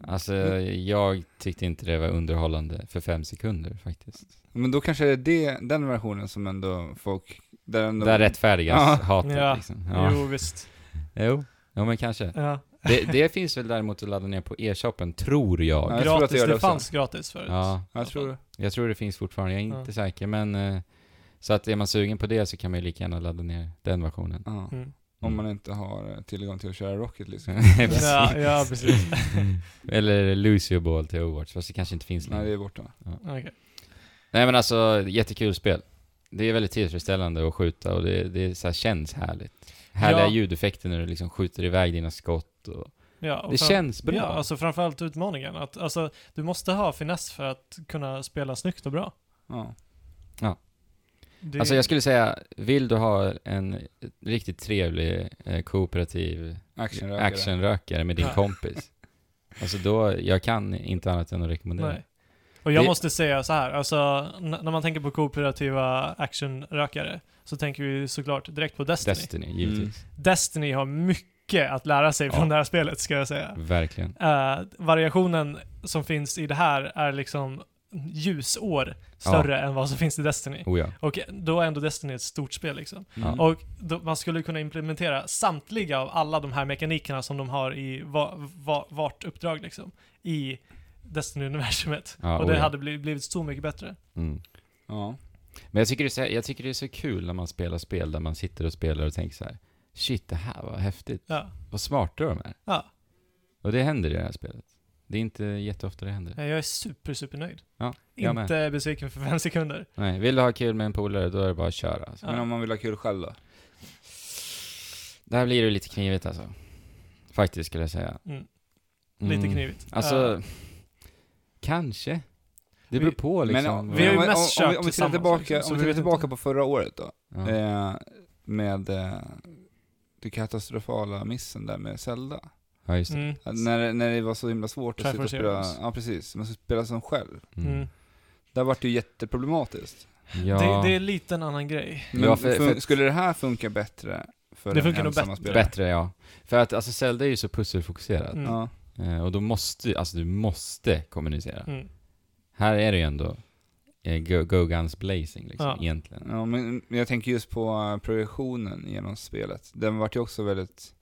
B: Alltså, jag tyckte inte det var underhållande för fem sekunder faktiskt.
C: Men då kanske det är det, den versionen som ändå folk... Där ändå,
B: Där rättfärdigas
C: Ja.
B: hatet
A: Ja.
B: liksom. Ja.
A: Jo, visst.
B: Jo. Ja men kanske.
A: Ja.
B: Det, det finns väl däremot att ladda ner på e-shoppen, tror jag.
C: Ja, jag tror att det
A: gratis,
C: gör
A: det,
C: det också.
A: fanns gratis förut.
B: Ja,
C: Jag tror
B: jag tror det finns fortfarande. Jag är inte
A: Ja.
B: säker men... eh, Så att är man sugen på det så kan man ju lika gärna ladda ner den versionen.
C: ja.
A: Mm.
C: Om man inte har eh, tillgång till att köra Rocket League. så-
B: Precis.
A: Ja, ja, precis.
B: Eller Lucio Ball till Overwatch, fast det kanske inte finns längre.
C: Nej, det är borta.
A: Okej.
B: Nej men alltså, jättekul spel. Det är väldigt tillfredsställande att skjuta och det, det är så här, känns härligt. Härliga
A: Ja.
B: ljudeffekter när du liksom skjuter iväg dina skott och...
A: Ja, och
B: Det
A: fram-
B: känns bra.
A: Ja, alltså framförallt utmaningen. Att, alltså, du måste ha finess för att kunna spela snyggt och bra.
C: Ja.
A: Det,
B: Alltså jag skulle säga, vill du ha en riktigt trevlig eh, kooperativ
C: Actionrökare.
B: actionrökare med din
A: Ja.
B: kompis. Alltså då, jag kan inte annat än att rekommendera.
A: Nej. Och jag
B: Det-
A: måste säga så här, alltså n- när man tänker på kooperativa actionrökare så tänker vi såklart direkt på Destiny. Destiny,
B: Destiny, givetvis.
A: har mycket att lära sig
B: Ja.
A: från det här spelet, ska jag säga.
B: Verkligen.
A: Eh, variationen som finns i det här är liksom ljusår större än vad som finns i Destiny.
B: Oh ja.
A: Och då är ändå Destiny ett stort spel liksom.
C: Mm.
A: Och då, man skulle kunna implementera samtliga av alla de här mekanikerna som de har i va, va, vart uppdrag liksom, i Destiny-universumet.
B: Ja,
A: och det
B: oh ja.
A: hade blivit, blivit så mycket bättre.
B: Mm.
C: Ja.
B: Men jag tycker, det är så, jag tycker det är så kul när man spelar spel där man sitter och spelar och tänker så här. Shit, det här var häftigt.
A: Ja,
B: Vad smarta de är.
A: ja.
B: Och det händer i det här spelet. Det är inte jätteofta det händer.
A: jag är super, super nöjd.
B: Ja, jag med.
A: Inte besviken för fem sekunder.
B: Nej, vill du ha kul med en polare, då är det bara att köra. Alltså.
A: Ja.
C: Men om man vill ha kul själv då?
B: Där blir det lite knivigt alltså. Faktiskt skulle jag säga.
A: Mm.
B: Mm.
A: Lite knivigt.
B: Alltså,
A: Eh,
B: kanske. Det
A: Vi-
B: beror på liksom.
C: Men
B: vad-
A: vi har ju
C: om, om,
A: mest kört
C: om, om vi tittar
A: tillsammans,
C: tillbaka,
A: liksom, så
C: om vi
A: vi
C: tittar
A: vet
C: tillbaka
A: inte.
C: på förra året då.
A: Mm.
B: ja.
C: Eh, med eh, den katastrofala missen där med Zelda.
B: ja, just det.
A: mm,
C: Att När, när det var så himla svårt att
A: Triforce
C: sitta och spela,
A: Heroes.
C: ja precis, man ska spela som själv.
B: Mm.
A: mm.
C: Där vart det ju jätteproblematiskt.
B: Ja,
A: Det, det är lite en annan grej.
C: Men
B: Ja, för-
C: fun-
B: för-
C: skulle det här funka bättre för
A: Det
C: en
A: funkar nog
C: ensamma
A: bättre.
C: spelare?
B: bättre ja. För att alltså Zelda är ju så pusselfokuserad.
A: Mm.
C: Ja.
B: Eh, och då måste, alltså du måste kommunicera.
A: Mm.
B: Här är det ju ändå eh, go, go guns blazing liksom,
A: Ja.
B: egentligen.
C: ja, men jag tänker just på eh, progressionen genom spelet. Den vart ju också väldigt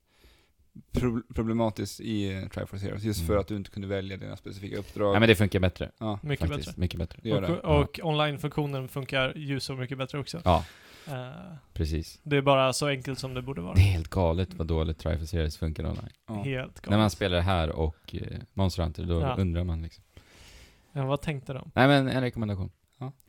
C: pro problematisk i eh, Triforce Heroes, just
B: Mm.
C: för att du inte kunde välja dina specifika uppdrag.
B: Nej men det funkar bättre.
C: ja,
A: Mycket
B: faktiskt. Mycket bättre.
C: det gör
A: bättre.
C: det.
A: Och, och online-funktionen funkar ju så mycket bättre också.
B: Ja.
A: Eh,
B: Precis.
A: det är bara så enkelt som det borde vara.
B: Det är helt galet vad dåligt Triforce Series funkar online.
C: Ja.
A: Helt galet.
B: När man spelar det här och eh, Monster Hunter, då
A: Ja.
B: undrar man liksom.
A: ja, vad tänkte de?
B: Nej men en rekommendation,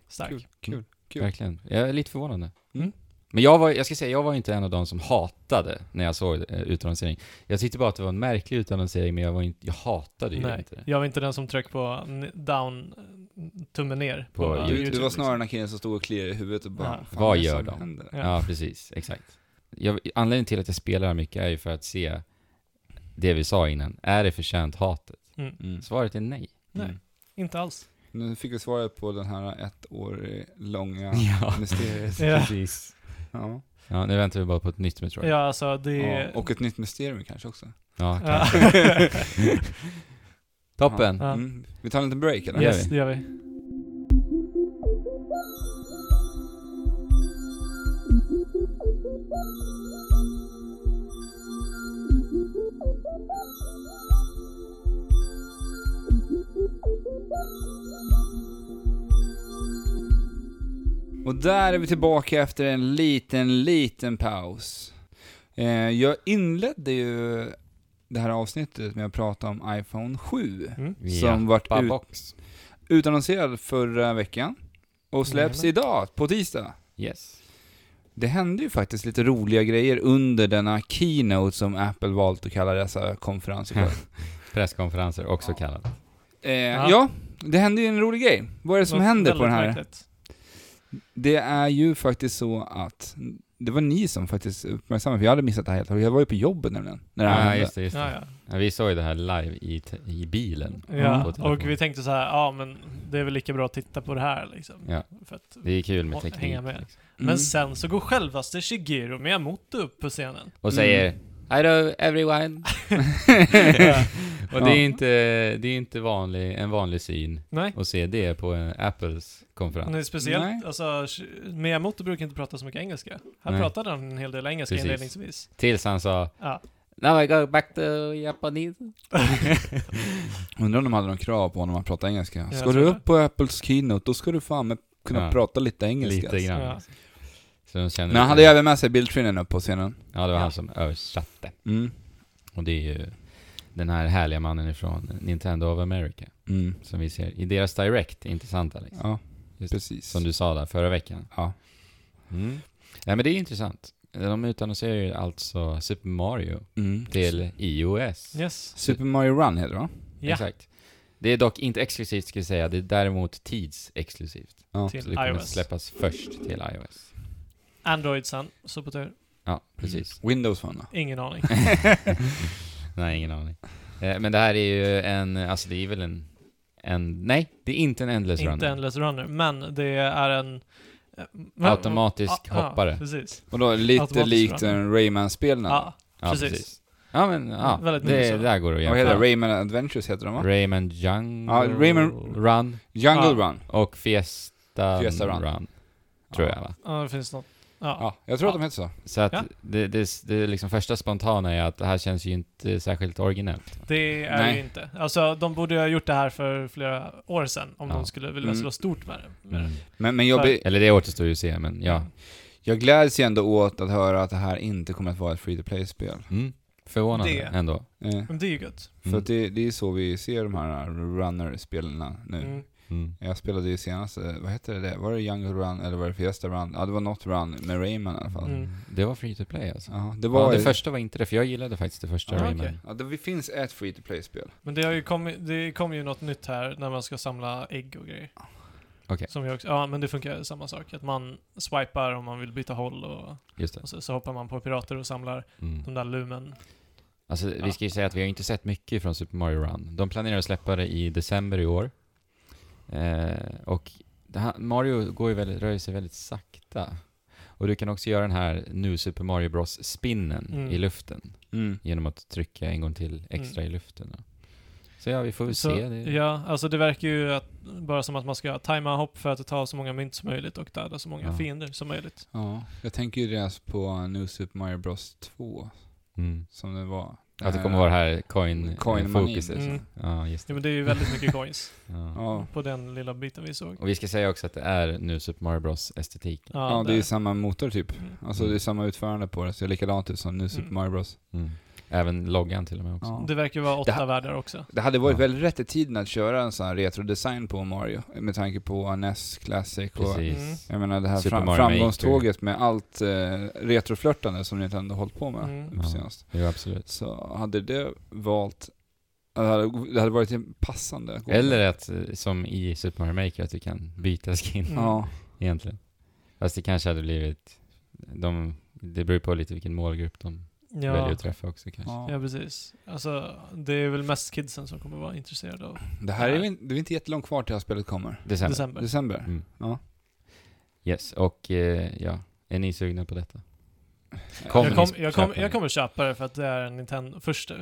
A: Stark.
C: Kul, kul, kul.
B: verkligen. Jag är lite förvånande.
C: Mm.
B: Men jag var, jag ska säga, jag var inte en av de som hatade när jag såg eh, utannonsering. Jag tyckte bara att det var en märklig utannonsering, men jag, var inte, jag hatade ju
A: Nej,
B: inte det.
A: jag var inte den som tryckte på n- down, eh, tummen ner.
B: På
A: eh,
B: YouTube.
C: Du, du var snarare den
A: liksom.
C: här killen som stod och kliade i huvudet och bara
A: Ja.
C: "Fan,
B: Vad
C: är det
B: gör
C: som
B: de?"
C: händer?
A: Ja.
B: Ja, precis. Exakt. Jag, anledningen till att jag spelar mycket är ju för att se det vi sa innan. Är det förtjänt hatet?
A: Mm.
C: Mm.
B: Svaret är nej.
A: Nej, inte alls.
C: Nu fick vi svaret på den här ett år långa
B: Ja,
C: mysteriet.
A: Ja.
B: precis.
C: Ja.
B: Ja, nu väntar vi bara på ett nytt Metroid.
A: Ja, alltså det...
C: Ja. Och ett nytt mysterium kanske också.
B: Ja,
A: Ja.
B: kanske. Toppen.
A: Ja.
C: Mm. Vi tar en liten break eller?
B: Ja.
A: yes,
B: vi.
A: det gör vi.
C: Och där är vi tillbaka efter en liten, liten paus. Eh, jag inledde ju det här avsnittet med att prata om iPhone 7.
A: Mm.
C: Som vart
B: Jappa
C: ut-
B: box.
C: Utannonserad förra veckan och släpps
A: Jajamän.
C: idag, på tisdag.
B: Yes.
C: Det hände ju faktiskt lite roliga grejer under denna keynote som Apple valt att kalla dessa konferenser för.
B: Presskonferenser, också kallat.
C: eh,
A: Ja.
C: ja, det hände ju en rolig grej. Vad är det som
A: Något
C: händer på
A: väldigt
C: den här?
A: märkligt.
C: Det är ju faktiskt så att det var ni som faktiskt uppmärksammade, för jag hade missat det här helt och hållet. Jag var ju på jobbet nämligen, när det här
B: Ja,
C: hände.
B: just det, just
A: Ja,
B: det.
A: ja.
B: Ja, vi såg ju det här live i, te- i bilen.
A: Ja,
B: På
A: och
B: telefonen.
A: vi tänkte så här, ja men det är väl lika bra att titta på det här liksom.
B: Ja.
A: För att,
B: Det är kul med
A: Och
B: teknik.
A: hänga med.
B: liksom.
A: Men
C: Mm.
A: sen så går självaste Shigeru Miyamoto upp på scenen.
B: Och säger Hello everyone.
A: Mm.
B: och det är inte, det är inte vanlig, en vanlig syn
A: Nej.
B: att se det på en Apples konferens.
A: Men det är speciellt,
C: Nej.
A: alltså Sh- Miyamoto brukar inte prata så mycket engelska. Här
B: Nej.
A: pratade han en hel del engelska
B: Precis.
A: inledningsvis.
B: Tills han sa
A: Ja.
B: Now I go back to Japanese.
C: Undrar om de hade någon krav på honom att prata engelska.
A: Jag
C: Ska
A: tror
C: du
A: det.
C: upp på Apples keynote, då ska du fan med kunna
B: Ja.
C: prata lite engelska.
B: Lite
C: alltså.
B: grann.
A: Ja.
B: liksom. Så de känner
C: Men han hade ju även med sig Bill Trinan upp på scenen.
B: Ja, det var
A: Ja.
B: han som översatte.
C: Mm.
B: Och det är ju den här härliga mannen ifrån Nintendo of America.
C: Mm.
B: Som vi ser i deras Direct, intressanta liksom.
C: Ja,
B: Just.
C: precis.
B: Som du sa där förra veckan.
C: Ja.
B: Mm. Nej men det är intressant. De utannonserar ju alltså Super Mario
C: Mm.
B: till iOS.
A: Yes.
C: Super Mario Run heter det va?
A: Ja,
B: Exakt. Det är dock inte exklusivt ska jag säga, det är däremot tidsexklusivt.
C: Ja.
B: Så
A: till
B: det kommer
A: iOS.
B: släppas först till iOS.
A: Android sen, så på tur.
B: Ja, precis.
C: Windows Phone då?
A: Ingen aning.
B: Nej, ingen aning. Eh, Men det här är ju en, alltså det är väl en, en nej, det är inte en Endless
A: inte
B: Runner.
A: Endless Runner, men det är en... eh, men-
B: Automatisk
A: Ja,
B: hoppare.
A: Ja, precis.
C: Och då lite
A: Automatiskt
C: likt
A: run.
C: en Rayman-spelen.
A: Ja,
B: Ja,
A: precis.
B: Ja, men ja,
A: Väldigt mycket
B: det,
A: så.
B: där går det att
C: Vad heter
B: jämföra.
C: det? Rayman Adventures heter de va?
B: Rayman Jungle
C: Ja, Rayman-
B: Run
C: Jungle
A: Ja.
C: Run.
B: och Fiesta,
C: Fiesta
B: Run,
C: Run.
B: tror
C: Ja.
B: jag va?
A: ja, det finns något. Ja.
C: Ja, jag tror att
A: Ja.
C: de heter så.
B: Så att
A: Ja.
B: det, det, det är liksom första spontana är att det här känns ju inte särskilt originellt.
A: Det är
C: Nej.
A: ju inte. Alltså, de borde ju ha gjort det här för flera år sedan om
B: Ja. Mm.
A: de skulle vilja
C: Mm.
A: slå stort med det. Med det.
C: Men, men jag,
A: För-
C: blir-
B: Eller det återstår ju att se, men ja.
C: jag gläds ju ändå åt att höra att det här inte kommer att vara ett free-to-play-spel.
B: Mm. Förvånande
A: Det-
B: ändå.
C: Eh,
A: Men det är ju gött.
B: Mm.
C: För att det, det är så vi ser de här runner-spelen nu.
A: Mm.
B: Mm.
C: Jag spelade ju senast, eh, vad hette det där? Var det Jungle Run eller var det Fiesta Run? Ja, det var något Run med Rayman i alla fall.
A: Mm.
B: Det var free to play alltså.
C: Ja, det
B: Ja,
C: var...
B: det första var inte det, för jag gillade faktiskt det första
A: Ah,
B: Rayman.
A: okej.
C: ja, det finns ett free-to-play-spel.
A: Men det har ju kommit, det kom ju något nytt här när man ska samla ägg och grejer.
B: Okej.
A: Som jag också, ja men det funkar ju samma sak. Att man swipar om man vill byta håll och,
B: Just det.
A: och så, så hoppar man på pirater och samlar
B: Mm.
A: de där lumen.
B: Alltså,
A: Ja.
B: vi ska ju säga att vi har inte sett mycket från Super Mario Run. De planerar att släppa det i december i år. Eh, och det här, Mario går ju väldigt, rör sig väldigt sakta. Och du kan också göra den här nu Super Mario Bros-spinnen
A: Mm.
B: i luften genom att trycka en gång till extra i luften. då. Så ja, vi får väl
A: Så,
B: se. Det.
A: Ja, alltså det verkar ju att, bara som att man ska tajma hopp för att ta så många mynt som möjligt och döda så många
B: Ja.
A: fiender som möjligt.
C: Ja, jag tänker ju deras på New Super Mario Bros 2,
B: Mm.
C: som det var Eh,
B: Att det kommer vara det här coin,
C: Coin
B: coin fokuset.
A: money. Mm.
B: Ja, just
A: Ja,
B: det.
A: men det är ju väldigt mycket coins
B: Ja.
C: Ja.
A: på den lilla biten vi såg.
B: Och vi ska säga också att det är nu Super Mario Bros estetik.
A: Ja,
C: ja, det är
A: där.
C: ju samma motor typ.
A: Mm.
C: Alltså det är samma utförande på det, så det är likadant ut som nu Super
A: Mm.
C: Mario Bros.
B: Mm. Även loggan till och med också.
C: Ja.
A: Det verkar ju vara
C: Det
A: åtta
C: här-
A: världar också.
C: Det hade varit
B: Ja.
C: väldigt rätt i tiden att köra en sån här retrodesign på Mario, med tanke på NES Classic och
A: Mm.
B: Precis.
C: jag menar det här
B: Super
C: fram,
B: Mario Maker.
C: framgångståget med allt eh, retroflörtande som Nintendo hållit på med
A: Mm.
C: nu
B: Ja.
C: senast.
B: Jo, absolut.
C: Så hade det valt, det hade, det hade varit en passande. att gå med.
B: Eller att, eh, som i Super Mario Maker, att du kan byta skin
A: Mm.
C: Ja,
B: egentligen. Fast det kanske hade blivit... De, det beror på lite vilken målgrupp de väljer
A: Ja,
B: att träffa också kanske.
A: ja,
C: ja.
A: precis. Alltså, det är väl mest kidsen som kommer vara intresserade av
C: Det här är, väl- det är inte jättelångt kvar till det här spelet kommer.
B: December.
A: december.
C: December?
B: Mm.
C: Ja.
B: Yes, och eh, ja, är ni sugna på detta?
A: Jag, kom, jag, kom,
B: köpa
A: jag
B: det?
A: kommer köpa det för att det är en Nintendo, första,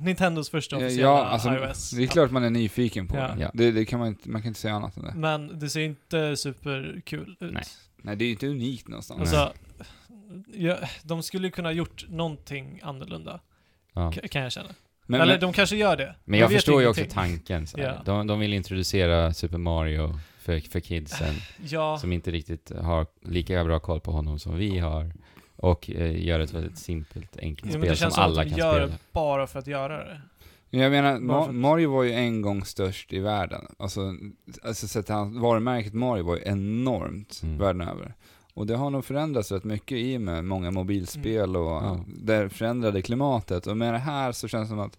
A: Nintendos första
C: Eh,
A: officiella
C: Ja, alltså,
A: iOS.
C: det är klart man är nyfiken på
A: Ja.
C: det.
B: Ja.
C: det, det kan man, inte, man kan inte säga annat än det.
A: Men det ser inte superkul ut.
B: Nej.
C: Nej, det är ju inte unikt någonstans.
A: Alltså, ja, de skulle ju kunna gjort någonting annorlunda,
B: Ja.
A: ka- kan jag känna.
C: men,
A: Eller
C: men,
A: de kanske gör det.
B: Men jag
A: vet
B: förstår ju också
A: ingenting.
B: tanken. Så här.
A: Ja.
B: de, de vill introducera Super Mario för, för kidsen
A: Ja,
B: som inte riktigt har lika bra koll på honom som vi har. Och eh, göra ett väldigt simpelt, enkelt
A: ja men det
B: spel som
A: känns som
B: alla
A: att de
B: kan
A: gör
B: spela.
A: det bara för att göra det.
C: jag
A: Bara för
C: menar, Ma-
A: att-
C: Mario var ju en gång störst i världen. Alltså, alltså sett till hans varumärket Mario var ju enormt
B: Mm.
C: världen över. Och det har nog förändrats rätt mycket i och med många mobilspel och
A: Mm.
B: Ja.
C: det förändrade klimatet. Och med det här så känns det som att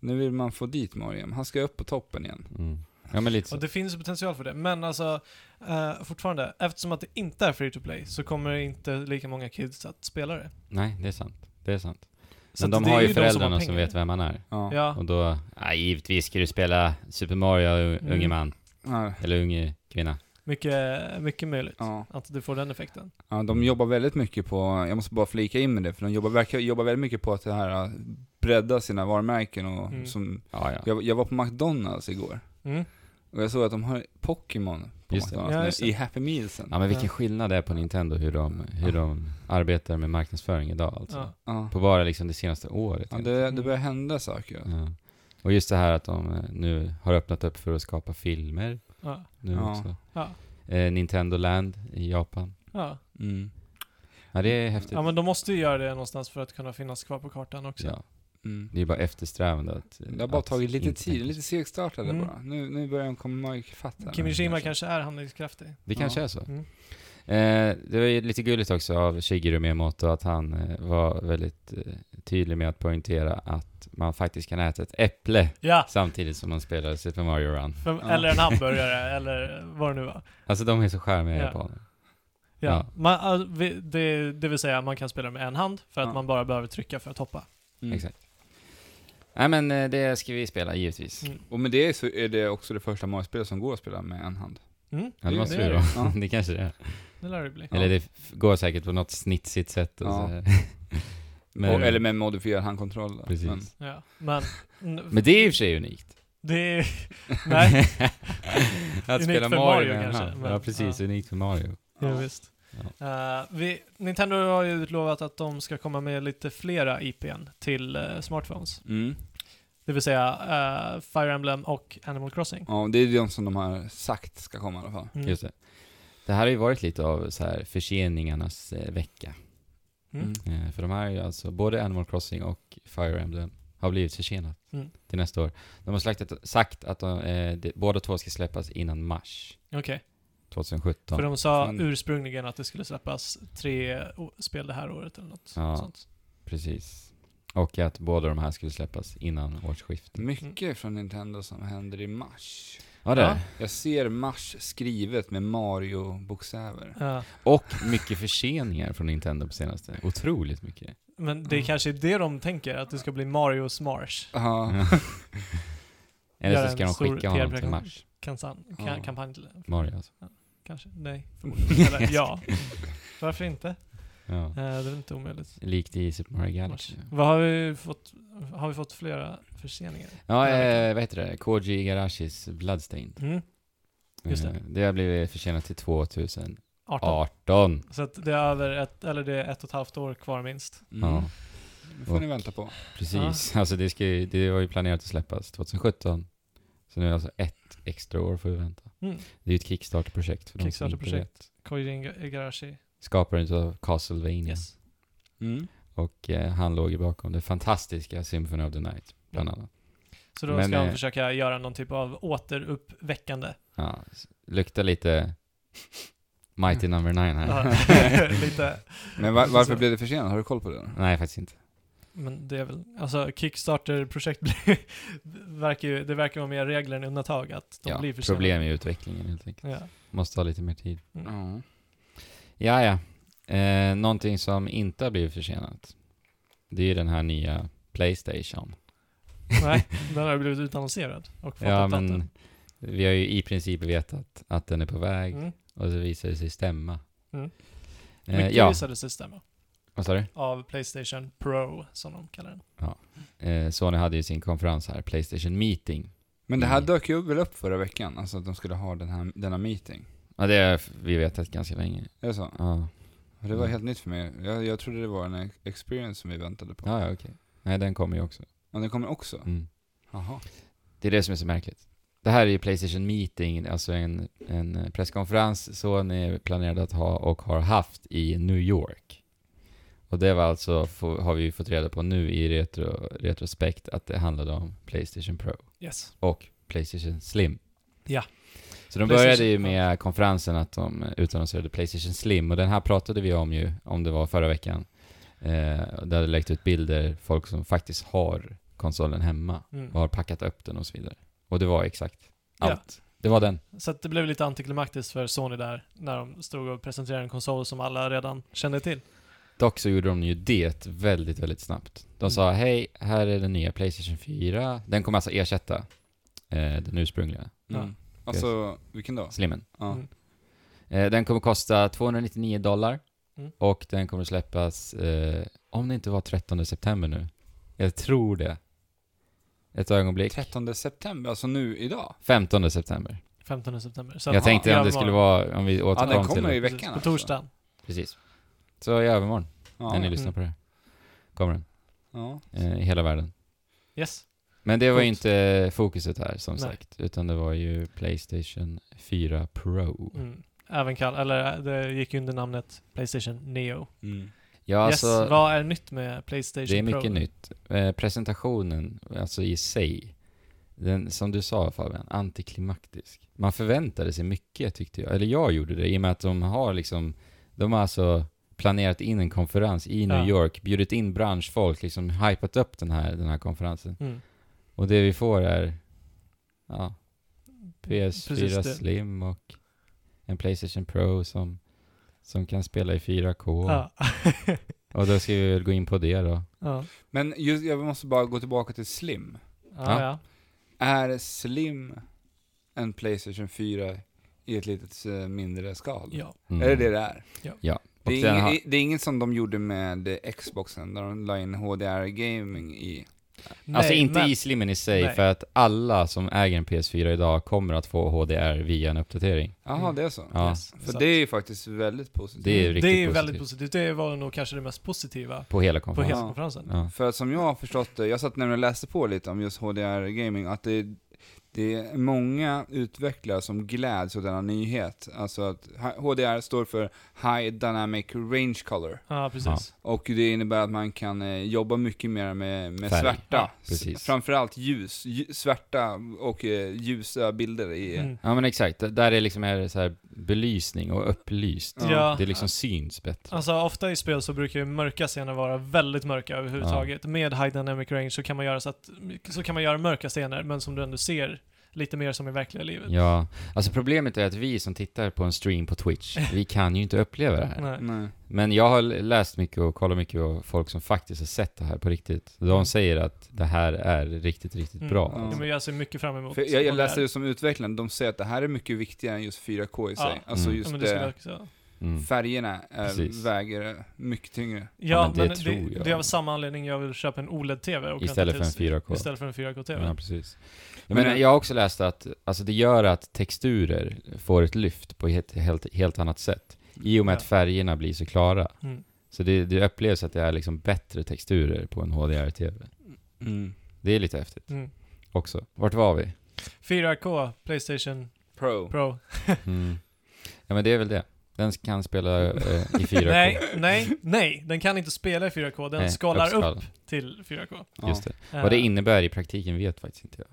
C: nu vill man få dit Mario igen. Han ska upp på toppen igen.
B: Mm. Ja, men lite så.
A: Och det finns ju potential för det, men alltså eh, fortfarande, eftersom att det inte är free to play så kommer det inte lika många kids att spela det.
B: Nej, det är sant. Det är sant.
A: Så
B: Men
A: att
B: de
A: det är
B: har ju
A: de har
B: föräldrarna som,
A: pengar.
B: vet vem man är.
C: Ja.
A: Ja,
B: Och då, ja, givetvis ska du spela Super Mario,
A: Mm.
B: unge man.
C: Ja.
B: Eller unge kvinna.
A: mycket, mycket möjligt
C: Ja.
A: att du får den effekten.
C: Ja, de jobbar väldigt mycket på, jag måste bara flika in med det, för de jobbar, verkar jobba väldigt mycket på att det här, äh, bredda sina varumärken och
A: Mm.
C: som,
B: Ja, ja.
C: jag, jag var på McDonalds igår,
A: Mm.
C: och jag såg att de har Pokémon på
B: Just det.
A: Ja,
C: McDonalds
A: just
C: nu,
A: det.
C: i Happy Mealsen.
B: Ja men vilken skillnad det är på Nintendo hur de, hur de arbetar med marknadsföring idag alltså.
A: Ja.
C: Ja.
B: På bara liksom det senaste året.
C: Ja,
B: egentligen.
C: det,
A: Mm.
C: det börjar hända saker.
B: Ja. Och just det här att de eh, nu har öppnat upp för att skapa filmer
A: Ja.
B: nu
C: Ja.
B: också.
A: Ja.
B: Eh, Nintendo Land i Japan.
A: Ja.
C: Mm.
B: Ja det är häftigt.
A: ja, men de måste ju göra det någonstans för att kunna finnas kvar på kartan också.
B: Ja.
C: Mm.
B: Det är bara eftersträvande att...
C: Det har bara
B: att
C: tagit lite
B: inte
C: tid,
B: tänka
C: lite segstartade
A: Mm.
C: bara. Nu, nu börjar de komma ifatt här.
A: Kimishima kanske är handlingskraftig.
B: Det kanske
C: Ja.
B: är så.
A: Mm.
B: Eh, det var ju lite gulligt också av Shigeru Miyamoto att han eh, var väldigt eh, tydlig med att poängtera att man faktiskt kan äta ett äpple
A: Ja!
B: samtidigt som man spelar Super Mario Run.
A: För, Eller en hamburgare, eller vad det nu var.
B: Alltså de är så charmiga
A: Ja.
B: japaner.
A: Ja.
B: Ja.
A: Man, all- vi- det, det vill säga, man kan spela med en hand för att
C: Ja.
A: man bara behöver trycka för att hoppa.
C: Mm.
B: Exakt. Nej men eh, det ska vi spela givetvis.
A: Mm.
C: Och med det så är det också det första Mario-spelet som går att spela med en hand.
A: Mm.
B: Ja, det
C: Det-
B: måste
A: det
B: vi
A: är
B: då.
C: Ja.
B: det kanske det är.
A: Det lär det bli.
B: Eller det f- går säkert på något snitsigt sätt. alltså. Och
C: Ja.
B: så.
C: och, eller med modifierad handkontroll. då.
B: Precis.
C: Men,
A: Ja. Men, n-
B: men det är i och för sig unikt.
A: det är... Nej,
B: att spela
A: för
B: Mario,
A: Mario
B: med en
A: kanske,
B: hand.
A: men-
B: Ja precis,
A: ja.
B: unikt för Mario.
A: ja, visst. Eh, vi, Nintendo har ju utlovat att de ska komma med lite flera IPn till eh, smartphones.
C: mm.
A: Det vill säga eh, Fire Emblem och Animal Crossing.
C: Ja, det är de som de har sagt ska komma i alla fall.
A: Mm.
B: Just det. Det här har ju varit lite av så här förseningarnas eh, vecka.
A: Mm.
B: Eh, för de här är ju alltså, både Animal Crossing och Fire Emblem har blivit försenat
A: Mm.
B: till nästa år. De har slaktat, sagt att de, eh, de, båda två ska släppas innan mars
A: Okej,
B: 2017.
A: för de sa
C: Fan.
A: ursprungligen att det skulle släppas tre o- spel det här året eller något
B: Ja.
A: sånt.
B: Precis. Och att båda de här skulle släppas innan årsskiftet.
C: Mycket från Nintendo som händer i mars.
B: Ja, det
A: Ja.
B: är det.
C: Jag ser mars skrivet med Mario-bokstäver.
A: Ja.
B: Och mycket förseningar från Nintendo på senaste. Otroligt mycket.
A: Men det är
C: Mm.
A: kanske det de tänker, att det ska bli Marios Marsh.
C: Ja, Mm.
B: Ja. Eller
A: Göra
B: så ska
A: en
B: de
A: stor
B: skicka honom till
A: PR-presentation.
B: mars.
A: Kansan, ka,
C: Ja.
A: Kampanj till
B: Mario alltså.
A: kanske? Nej, förmodligen. Eller ja. Varför inte? Eh,
B: Ja.
A: det är väl inte omöjligt.
B: Likt i Super Mario
A: Marsh.
B: Galaxy.
A: Vad har vi fått? Har vi fått flera förseningar?
B: Ja,
A: Den här
B: eh,
A: veckan.
B: vad heter det? Koji Igarashis Bloodstained.
A: Mm, Just det.
B: Eh, det har blivit försenat till 2018.
A: Mm. 18. Så att det är över ett, eller det är ett och ett halvt år kvar minst.
C: mm.
B: Ja.
C: Det får ni vänta på.
B: Precis. Alltså det, ska ju, det var ju planerat att släppas 2017. Så nu är det alltså ett extra år får vi vänta.
A: Mm.
B: Det är ju ett Kickstarter-projekt för de som inte
A: Kickstarter-projekt.
B: vet.
A: Koji Igarashi.
B: Skaparen av Castlevania.
A: Yes.
C: Mm.
B: Och eh, han låg ju bakom det fantastiska Symphony of the Night, bland annat.
A: Så då
B: Men,
A: ska han
B: eh,
A: försöka göra någon typ av återuppväckande.
B: Ja, s- luktar lite Mighty Number Nine här.
A: Ja, Lite.
C: Men var, varför
A: Så.
C: blev det försenat? Har du koll på det?
B: Nej, faktiskt inte.
A: Men det är väl, alltså Kickstarter-projekt blir, verkar ju, det verkar vara mer regler än undantag att de
B: Ja,
A: blir försenade.
B: problem i utvecklingen helt enkelt.
A: Ja.
B: Måste ha lite mer tid.
A: Mm.
C: Ja.
B: Ja, ja. Eh, någonting som inte har blivit försenat. Det är ju den här nya Playstation.
A: Nej, den har ju blivit utannonserad och fått
B: Ja,
A: upp
B: men vi har ju i princip vetat att den är på väg
A: Mm.
B: och så visar det sig stämma.
A: Mm.
B: Eh,
A: Mycket
B: ja,
A: visade sig stämma.
B: vad sa du?
A: Av Playstation Pro, som de kallar den.
B: Eh, Sony hade ju sin konferens här, Playstation Meeting.
C: Men det här
B: Mm.
C: dök ju väl upp förra veckan, alltså att de skulle ha den här, denna meeting.
B: Ja, det har vi vetat ganska länge.
C: Är det så?
B: Ja,
C: Det var
B: Mm.
C: helt nytt för mig. Jag, jag trodde det var en ex- experience som vi väntade på.
B: ja, ja okej. Nej, den kommer ju också.
C: Men den kommer också?
B: Mm.
C: Jaha.
B: Det är det som är så märkligt. Det här är ju Playstation Meeting, alltså en, en presskonferens Sony planerade att ha och har haft i New York. Och det var alltså, få- har vi ju fått reda på nu i retro, retrospekt, att det handlade om Playstation Pro
A: Yes.
B: och Playstation Slim.
A: Ja.
B: Så de
A: Playstation-
B: började ju med konferensen att de utannonserade Playstation Slim och den här pratade vi om ju, om det var förra veckan. Eh, det hade läckt ut bilder, folk som faktiskt har konsolen hemma
A: Mm.
B: och har packat upp den och så vidare. Och det var exakt
A: Ja.
B: allt. Det var den.
A: Så att det blev lite antiklimaktiskt för Sony där, när de stod och presenterade en konsol som alla redan kände till.
B: Dock så gjorde de ju det väldigt, väldigt snabbt. De
A: Mm.
B: sa hej, här är den nya Playstation 4. Den kommer alltså ersätta eh, den ursprungliga
A: Ja.
C: Mm. Alltså, vilken dag?
B: slimmen.
C: Ja.
A: Mm.
B: Eh, den kommer kosta 299 dollar
A: Mm.
B: och den kommer släppas, eh, om det inte var 13 september nu. Jag tror det. Ett ögonblick.
C: 13 september, alltså nu idag?
B: 15 september.
A: 15 september. Så
B: Jag
A: att-
B: tänkte
A: ja,
B: om det
A: imorgon.
B: skulle vara, alltså. om vi
C: Ja,
B: återkom
C: den
B: till
C: kommer
B: det.
C: i veckan
A: På torsdagen.
B: Precis. Så i övermorgon,
C: Alltså.
B: när ni
C: Ja.
B: lyssnar
A: Mm.
B: på det här, kommer den.
C: ja.
B: Eh, I hela världen.
A: Yes.
B: Men det var ju
A: Coolt.
B: inte fokuset här som
A: Nej.
B: sagt, utan det var ju Playstation 4 Pro.
A: Mm. Även kall, eller äh, det gick ju under namnet Playstation Neo.
C: Mm.
B: Ja,
A: yes,
B: alltså,
A: vad är nytt med Playstation Pro?
B: det är mycket nytt. Eh, presentationen, alltså i sig, den, som du sa Fabian, antiklimaktisk. Man förväntade sig mycket tyckte jag, eller jag gjorde det, i och med att de har liksom, de har alltså planerat in en konferens i New
A: Ja.
B: York, bjudit in branschfolk, liksom hypat upp den här, den här konferensen.
A: Mm.
B: Och det vi får är ja, PS4
A: Precis det.
B: Slim och en Playstation Pro som, som kan spela i 4K.
A: Ja.
B: Och då ska vi väl gå in på det då.
A: ja.
C: Men just, jag måste bara gå tillbaka till Slim.
A: Ja, ja.
C: Är Slim en Playstation 4 i ett litet eh, mindre skal?
A: ja.
B: Mm.
C: Är det det det är?
B: Och
C: Det är,
B: den
C: ing-
B: har,
C: det är inget som de gjorde med eh, Xboxen, där de la in HDR-gaming i.
B: alltså
A: Nej,
B: inte
A: men-
B: i Slimmen i sig,
A: Nej.
B: för att alla som äger en PS4 idag kommer att få HDR via en uppdatering.
C: Jaha,
A: Mm.
C: det är så?
B: Ja,
A: Yes,
C: För
A: exakt.
C: det är ju faktiskt väldigt positivt.
B: Det är ju
A: det
B: riktigt
A: är ju väldigt
B: positivt.
A: positivt. Det var nog kanske det mest positiva
B: På hela
A: på
B: konferensen.
A: hela
C: Ja.
A: konferensen.
B: Ja.
C: För att som jag har förstått det, jag satt nämligen och läste på lite om just HDR-gaming, att det, det är många utvecklare som gläds åt denna nyhet. Alltså att hi- HDR står för High Dynamic Range Color.
A: Ja, precis.
C: Och det innebär att man kan eh, jobba mycket mer med, med
B: Färg.
C: svärta.
A: Ja,
B: precis.
C: S- Framförallt ljus, lju- svärta och eh, ljusa bilder i...
A: Mm.
B: ja, men exakt. D- Där är liksom är det så här belysning och upplyst.
C: Ja.
A: Ja.
B: Det liksom syns bättre.
A: Alltså ofta i spel så brukar ju mörka scener vara väldigt mörka överhuvudtaget. Med High Dynamic Range så kan man göra så att, så kan man göra mörka scener, men som du ändå ser lite mer som i verkliga livet.
B: Ja, alltså problemet är att vi som tittar på en stream på Twitch, vi kan ju inte uppleva det här.
A: Nej.
C: Nej.
B: Men jag har läst mycket och kollat mycket och folk som faktiskt har sett det här på riktigt. De
A: Mm.
B: säger att det här är riktigt, riktigt
A: Mm.
B: bra.
A: Ja,
B: Alltså.
A: men jag ser mycket fram emot
C: För jag, jag
A: det
C: läste
A: här.
C: det som utvecklaren, de säger att det här är mycket viktigare än just 4K i sig.
A: Ja.
C: Alltså
B: Mm.
A: ja,
C: just
A: men det skulle
C: det,
A: jag också.
B: Mm.
C: färgerna eh,
B: Precis.
C: väger mycket tyngre.
A: Ja,
B: men det
A: men, det,
B: tror
A: det,
B: jag.
A: är av samma anledning jag vill köpa en E OLED-TV. och
B: Istället
A: vänta
B: för en 4K.
A: Istället för en 4K-TV.
B: Ja, precis. Jag,
C: Men-
B: menar, jag har också läst att alltså, det gör att texturer får ett lyft på ett helt, helt annat sätt. I och med
A: Ja.
B: att färgerna blir så klara.
A: Mm.
B: Så det, det upplevs att det är liksom bättre texturer på en HDR-TV.
C: Mm.
B: Det är lite häftigt
A: Mm.
B: också. Vart var vi?
A: 4K, Playstation
C: Pro.
A: Pro.
B: Mm. Ja men det är väl det. Den kan spela eh, i 4K.
A: Nej, nej, nej. Den kan inte spela i 4K. Den
B: Nej,
A: skalar upp
B: uppskala.
A: till 4K.
C: Ja.
B: Just det. Vad det
A: Eh,
B: innebär i praktiken vet faktiskt inte jag.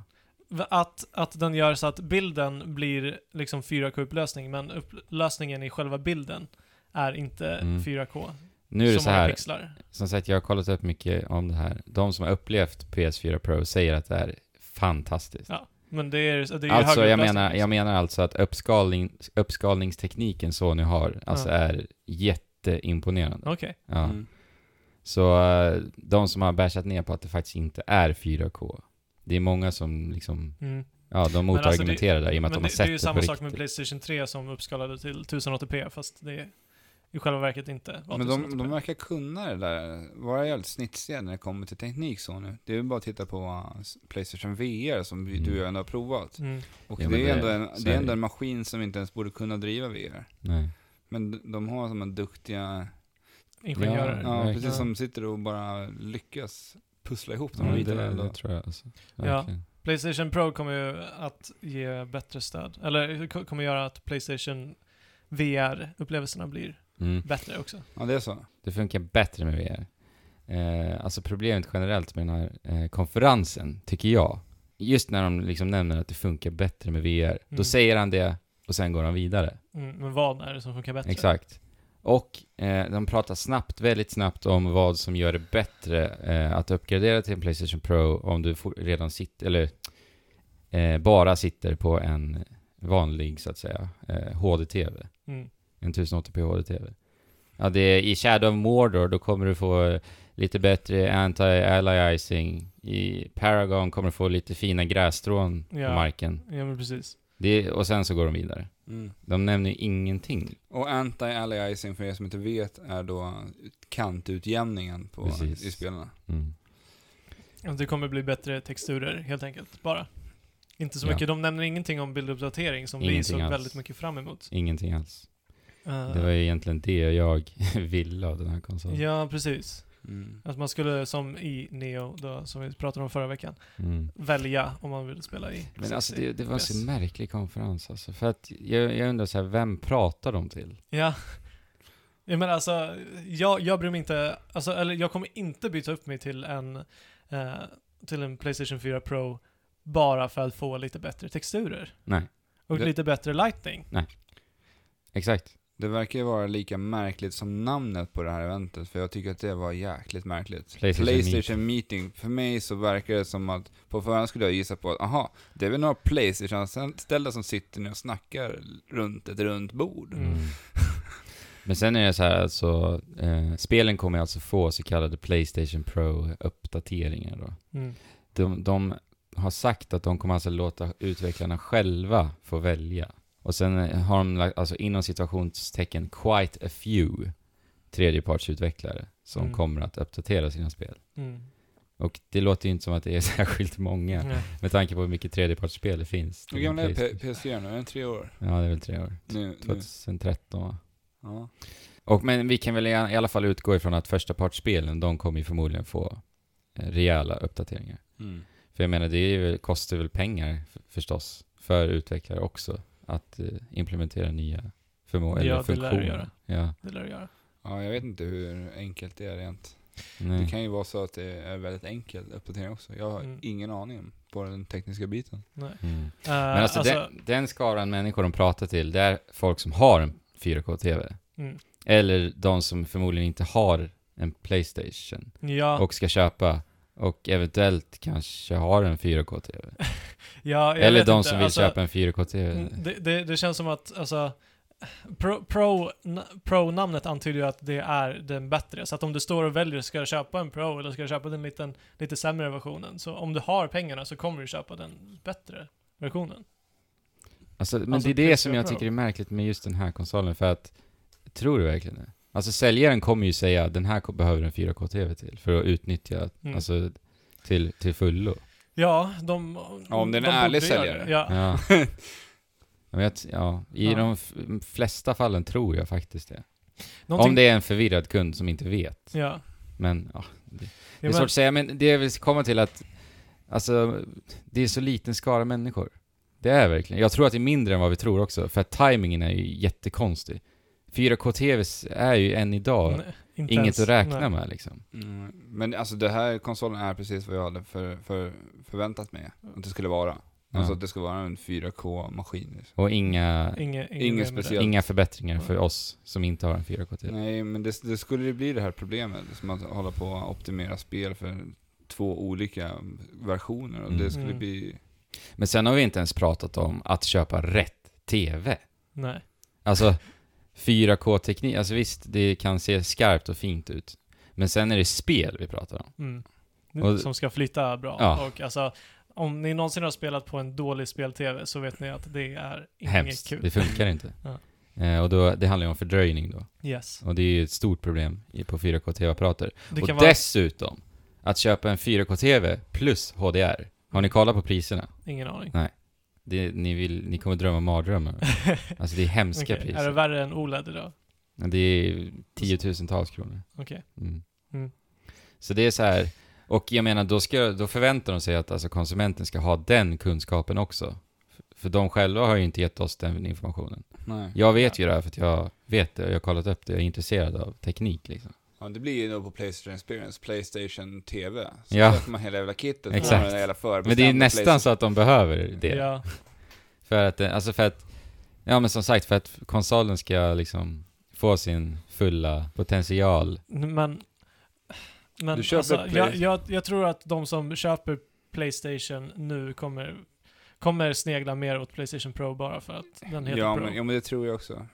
A: Att, att den gör så att bilden blir liksom 4K-upplösning, men upplösningen i själva bilden är inte
B: Mm.
A: 4K.
B: Nu är det
A: så
B: så
A: många
B: här,
A: pixlar.
B: som sagt jag har kollat upp mycket om det här. De som har upplevt PS4 Pro säger att det är fantastiskt.
A: Ja, men det är, det är ju
B: Alltså
A: högre upplösning,
B: jag menar, jag
A: liksom.
B: menar alltså att uppskalning, uppskalningstekniken Sony har, alltså
A: Ja.
B: är jätteimponerande.
A: Okej.
B: Ja.
C: Mm.
B: Så eh, de som har bashat ner på att det faktiskt inte är 4K, det är många som liksom,
A: Mm.
B: ja de
A: alltså,
B: motargumenterar där i och med
A: Men
B: att
A: det,
B: de har
A: det,
B: sett
A: är ju
B: det,
A: samma
B: på
A: sak med
B: riktigt.
A: Playstation 3 som uppskalade till 1080p, fast det i själva verket inte var
C: Men de,
A: 1080p.
C: de verkar kunna det där, vara jävligt snitsiga när det kommer till teknik så nu. Det är ju bara att titta på uh, s- Playstation VR som vi- du
B: Mm.
C: och jag ändå har provat.
A: Mm.
C: Och
B: Ja, men
C: det,
B: det
C: är ändå
B: är-
C: en,
B: så
C: det
B: är
C: är
B: det
C: ändå
B: ju.
C: en maskin som inte ens borde kunna driva VR.
B: Nej.
C: Men d- de har som en duktiga,
A: Ingenjörer.
B: Ja,
C: ja,
B: verkligen.
C: precis som sitter och bara lyckas pussla ihop de
B: Ja,
C: här
B: det,
C: bitarna
B: det
C: ändå.
B: tror jag alltså.
A: Ja.
B: Verkligen.
A: Playstation Pro kommer ju att ge bättre stöd, eller ko- kommer göra att Playstation VR-upplevelserna blir
B: Mm.
A: bättre också.
C: Ja, det är så.
B: Det funkar bättre med VR. Eh, alltså problemet generellt med den här eh, konferensen, tycker jag, just när de liksom nämner att det funkar bättre med VR,
A: Mm.
B: då säger han det och sen går han vidare.
A: Mm, men vad är det som funkar bättre?
B: Exakt. Och eh, de pratar snabbt, väldigt snabbt om vad som gör det bättre eh, att uppgradera till en Playstation Pro om du for, redan sitter, eller eh, bara sitter på en vanlig, så att säga, eh, HD-TV.
A: Mm.
B: En 1080p HD-TV. Ja, det är, I Shadow of Mordor då kommer du få eh, lite bättre anti-aliasing. I Paragon kommer du få lite fina grässtrån
A: Ja.
B: på marken.
A: Ja men precis.
B: Det, och sen så går de vidare. De nämner ju ingenting.
C: Och anti-aliasing för er som inte vet är då kantutjämningen på,
B: Precis.
C: i spelarna.
B: Mm.
A: Att Det kommer bli bättre texturer helt enkelt, bara. Inte så
B: Ja.
A: mycket, de nämner ingenting om bilduppdatering som vi
B: Ingenting
A: såg
B: alls.
A: väldigt mycket fram emot.
B: Ingenting alls.
A: Eh,
B: Det var ju egentligen det jag ville av den här konsolen.
A: Eh, Ja, precis.
C: Mm.
A: Att man skulle, som i Neo, då, som vi pratade om förra veckan,
B: Mm.
A: välja om man vill spela i
B: Men alltså det, det var en
A: 60
B: så
A: FPS.
B: märklig konferens alltså. För att jag, jag undrar så här, vem pratar de till?
A: Ja. ja men alltså, jag, jag bryr mig inte, alltså, eller jag kommer inte byta upp mig till en, eh, till en Playstation 4 Pro bara för att få lite bättre texturer.
B: Nej,
A: Och
C: Det-
A: lite bättre lightning.
B: exakt.
C: Det verkar ju vara lika märkligt som namnet på det här eventet, för jag tycker att det var jäkligt märkligt.
B: Playstation
C: Playstation meeting. För mig så verkar det som att, på förhand skulle jag gissa på att, aha, det är väl några Playstation-ställda som sitter ner och snackar runt ett runt bord.
A: Mm.
B: Men sen är det så här alltså, eh, spelen kommer alltså få så kallade Playstation Pro-uppdateringar då.
A: Mm.
B: De, de har sagt att de kommer alltså låta utvecklarna själva få välja. Och sen eh, har de lagt, alltså inom situationstecken quite a few tredjepartsutvecklare som
A: Mm.
B: kommer att uppdatera sina spel.
A: Mm.
B: Och det låter ju inte som att det är särskilt många
A: Ja.
B: med tanke på hur mycket tredjepartsspel det finns.
C: Mm. Hur gammal är
B: Playstation.
C: PS4 nu? Är den tre år?
B: Ja, det är väl tre år.
C: Nu, nu.
B: 2013 va?
C: Ja.
B: Och men vi kan väl i alla fall utgå ifrån att förstapartsspelen, de kommer ju förmodligen få eh, rejäla uppdateringar.
C: Mm.
B: För jag menar, det är ju, kostar väl pengar f- förstås för utvecklare också att eh, implementera nya
A: Ja,
B: förmågor eller
A: det lär det
B: funktioner.
A: göra.
B: Ja,
A: Det lär det göra.
C: ja, jag vet inte hur enkelt det är rent. Det
B: nej.
C: kan ju vara så att det är väldigt enkel uppdatering också. Jag har
A: Mm.
C: ingen aning på den tekniska biten.
A: Nej.
B: Mm.
A: Eh,
B: Men alltså, den, den skaran människor de pratar till, det är folk som har en 4K-TV.
A: Mm.
B: Eller de som förmodligen inte har en Playstation
A: ja,
B: och ska köpa och eventuellt kanske har en 4K-TV.
A: ja, jag
B: Eller
A: vet
B: de
A: inte.
B: som vill
A: Alltså,
B: köpa en
C: Eh.
B: 4K-TV.
A: Mm, Det, det, det känns som att, alltså, pro, pro, na- pro-namnet antyder ju att det är den bättre. Så att om du står och väljer, ska jag köpa en pro eller ska jag köpa den liten, lite sämre versionen? Så om du har pengarna så kommer du köpa den bättre versionen.
B: Alltså, men
A: Alltså,
B: det är det som
A: PS4
B: jag
A: Pro.
B: tycker är märkligt med just den här konsolen, för att tror du verkligen det? Alltså säljaren kommer ju säga den här ko- behöver en 4K-TV till för att utnyttja,
A: Mm.
B: alltså till, till fullo.
A: Ja, de...
C: Ja, om det är en
A: de
C: ärlig
A: borde göra
C: säljare.
A: det. Ja.
B: Ja. Ja, men jag, t- ja, i
A: Ja.
B: de f- flesta fallen tror jag faktiskt det.
A: Någonting-
B: Om det är en förvirrad kund som inte vet.
A: Ja.
B: Men ja, det
A: Ja,
B: är
A: men,
B: svårt att säga. Men det jag vill komma till att alltså, det är så liten skara människor. Det är verkligen. Jag tror att det är mindre än vad vi tror också. För att tajmingen är ju jättekonstig. 4K-TVs är ju än idag
A: nej, inte
B: inget
A: ens-
B: att räkna
A: nej.
B: med liksom.
C: Mm, Men alltså det här konsolen är precis vad jag hade för, för, förväntat mig att det skulle vara.
B: Ja.
C: Alltså att det skulle vara en 4K-maskin. liksom.
B: Och inga,
A: Inge, inge
C: Inget
A: med
C: speciellt.
B: inga förbättringar för oss som inte har en 4K-TV.
C: Nej, men det, det skulle ju bli det här problemet, som att hålla på och optimera spel för två olika versioner och
B: Mm.
C: det skulle
A: Mm.
C: bli...
B: Men sen har vi inte ens pratat om att köpa rätt TV.
A: det. Nej.
B: Alltså 4K-teknik, alltså visst det kan se skarpt och fint ut. Men sen är det spel vi pratar om.
A: Mm.
B: Och-
A: Som ska flyta bra.
B: Ja.
A: Och alltså, om ni någonsin har spelat på en dålig spel-tv så vet ni att det är inget
B: Hemskt,
A: kul.
B: det funkar inte.
A: Ja.
B: Eh, och då, det handlar ju om fördröjning då.
A: Yes.
B: Och det är ju ett stort problem i- på 4K-TV-apparater.
A: Det
B: Och
A: kan vara
B: dessutom, att köpa en 4K-TV plus HDR. Har ni kollat på priserna?
A: ingen aning.
B: Det, ni, vill, ni kommer drömma mardrömmar. Alltså det är hemska
A: Okej, Är
B: priser.
A: det värre än OLED idag?
B: Men Det är tiotusentals kronor.
A: Okej.
B: Mm.
A: Mm.
B: Så det är så här, och jag menar då, ska, då förväntar de sig att alltså, konsumenten ska ha den kunskapen också. F- För de själva har ju inte gett oss den informationen.
C: Nej.
B: Jag vet ju det här för att jag vet det, jag har kollat upp det, jag är intresserad av teknik liksom.
C: Ja, det blir ju då på Playstation Experience, Playstation TV. Så
B: Ja.
C: köper man hela jävla kittet, och
B: Exakt.
C: har man hela
B: Men det är
C: förbestämda
B: nästan
C: Playstation-
B: så att de behöver det.
A: Ja.
B: För att, eh, alltså för att, ja men som sagt, för att konsolen ska liksom få sin fulla potential.
A: Men... Men
C: Du köper
A: alltså,
C: ett Play-
A: jag, jag, jag tror att de som köper Playstation nu kommer, kommer snegla mer åt Playstation Pro bara för att den heter
C: Ja
A: Pro.
C: men, ja, men det tror jag också.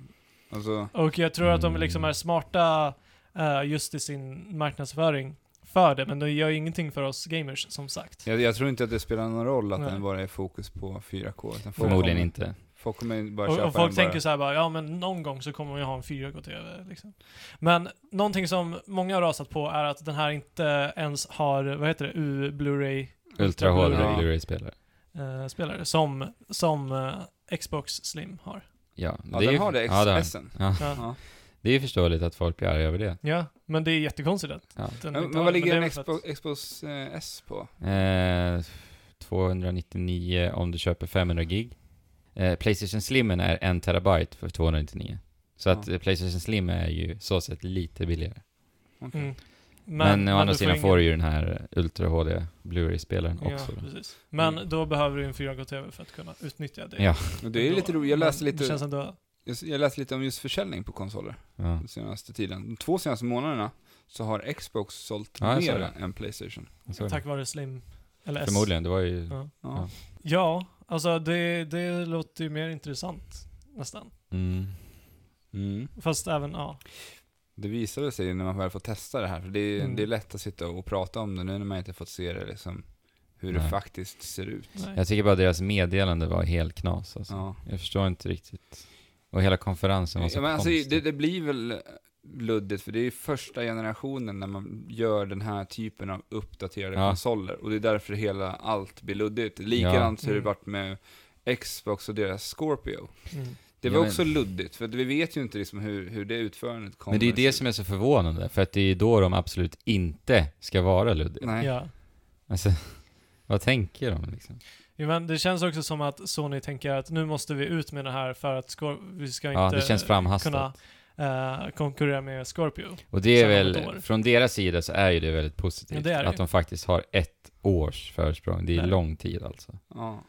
C: Alltså,
A: Och jag tror att de liksom
B: Mm.
A: är smarta eh, just i sin marknadsföring för det, men de gör ju ingenting för oss gamers som sagt.
C: jag, jag tror inte att det spelar någon roll att
A: Nej.
C: den bara är fokus på 4K. Utan folk
B: Förmodligen
C: kommer,
B: inte.
C: Folk kommer bara köpa
A: Och, och folk
C: den
A: tänker
C: bara.
A: så här bara, ja men någon gång så kommer jag ha en 4K-TV liksom. Men någonting som många har rasat på är att den här inte ens har, vad heter det, U-Blu-ray-spelare
B: Ultra HD
A: Blu-ray.
B: Blu-ray-spelare.
A: eh, som, som eh, Xbox Slim har.
B: Ja,
C: Ja,
B: det är
C: den
B: ju-
C: har det,
B: ja, det har den.
C: XS-en.
B: Ja,
A: Ja.
C: Ja.
B: det är ju förståeligt att folk blir arga över det.
A: ja, men det är jättekonstigt att
B: Ja.
A: den
C: Men,
A: inte
C: men
A: har
C: vad
A: det,
C: ligger
A: det
C: en
A: är väl för
C: Xbox, Xbox eh, S på?
B: Eh, 299 om du köper 500 gig. Eh, Playstation Slimmen är 1 terabyte för 299. Så att
C: Ja.
B: eh, Playstation Slim är ju så sett lite billigare.
A: att- Mm.
B: Men, å andra
A: du
B: sidan
A: ingen-
B: får du ju den här Ultra HD Blu-ray-spelaren också.
A: Ja,
B: Då. Mm.
A: precis. Men då behöver du en 4K-TV för att kunna utnyttja det.
B: Ja.
C: Men Det är ju
A: Då-
C: lite roligt, jag
A: men
C: läste
A: Det känns
C: lite,
A: ändå...
C: jag, jag läste lite om just försäljning på konsoler
B: Ja.
C: den senaste tiden. De två senaste månaderna så har Xbox sålt
B: Ja, jag sa
C: mer än Playstation.
B: jag såg det.
A: Tack vare Slim. Eller S.
B: Förmodligen, det var ju...
A: Ja.
C: Ja.
A: Ja, alltså det, det låter ju mer intressant. Nästan.
B: Mm.
C: Mm.
A: Fast även, ja.
C: Det visade sig när man väl får testa det här, för det är,
A: Mm.
C: det är lätt att sitta och prata om det nu när man inte fått se det liksom, hur det
B: Nej.
C: faktiskt ser ut.
A: Nej.
B: Jag tycker bara deras meddelande var helt knas alltså.
C: Ja.
B: Jag förstår inte riktigt. Och hela konferensen var så
C: Ja, men alltså,
B: konstig.
C: det, det blir väl luddigt, för det är ju första generationen när man gör den här typen av uppdaterade
B: Ja.
C: konsoler, och det är därför hela allt blir luddigt. Likadant har det
A: Mm.
C: varit med Xbox och deras Scorpio.
A: Mm.
C: Det
B: Ja,
C: var
B: men-
C: också luddigt, för att vi vet ju inte liksom hur, hur det utförandet kommer.
B: Men det är ju det
C: att se
B: som är så förvånande, för att det är ju då de absolut inte ska vara
C: ut.
B: luddiga.
C: Nej.
A: Ja.
B: Alltså, vad tänker de liksom?
A: ja. Men det känns också som att Sony tänker att nu måste vi ut med det här för att Scor- vi ska
B: Ja,
A: inte
B: det känns framhastat.
A: kunna eh, konkurrera med Scorpio.
B: Och det är
A: Sen om ett
B: väl,
A: år.
B: från deras sida så är ju det väldigt positivt.
A: Ja, det är det
B: att de faktiskt har ett års försprång. Det är
A: Nej.
B: lång tid alltså.
C: Ja.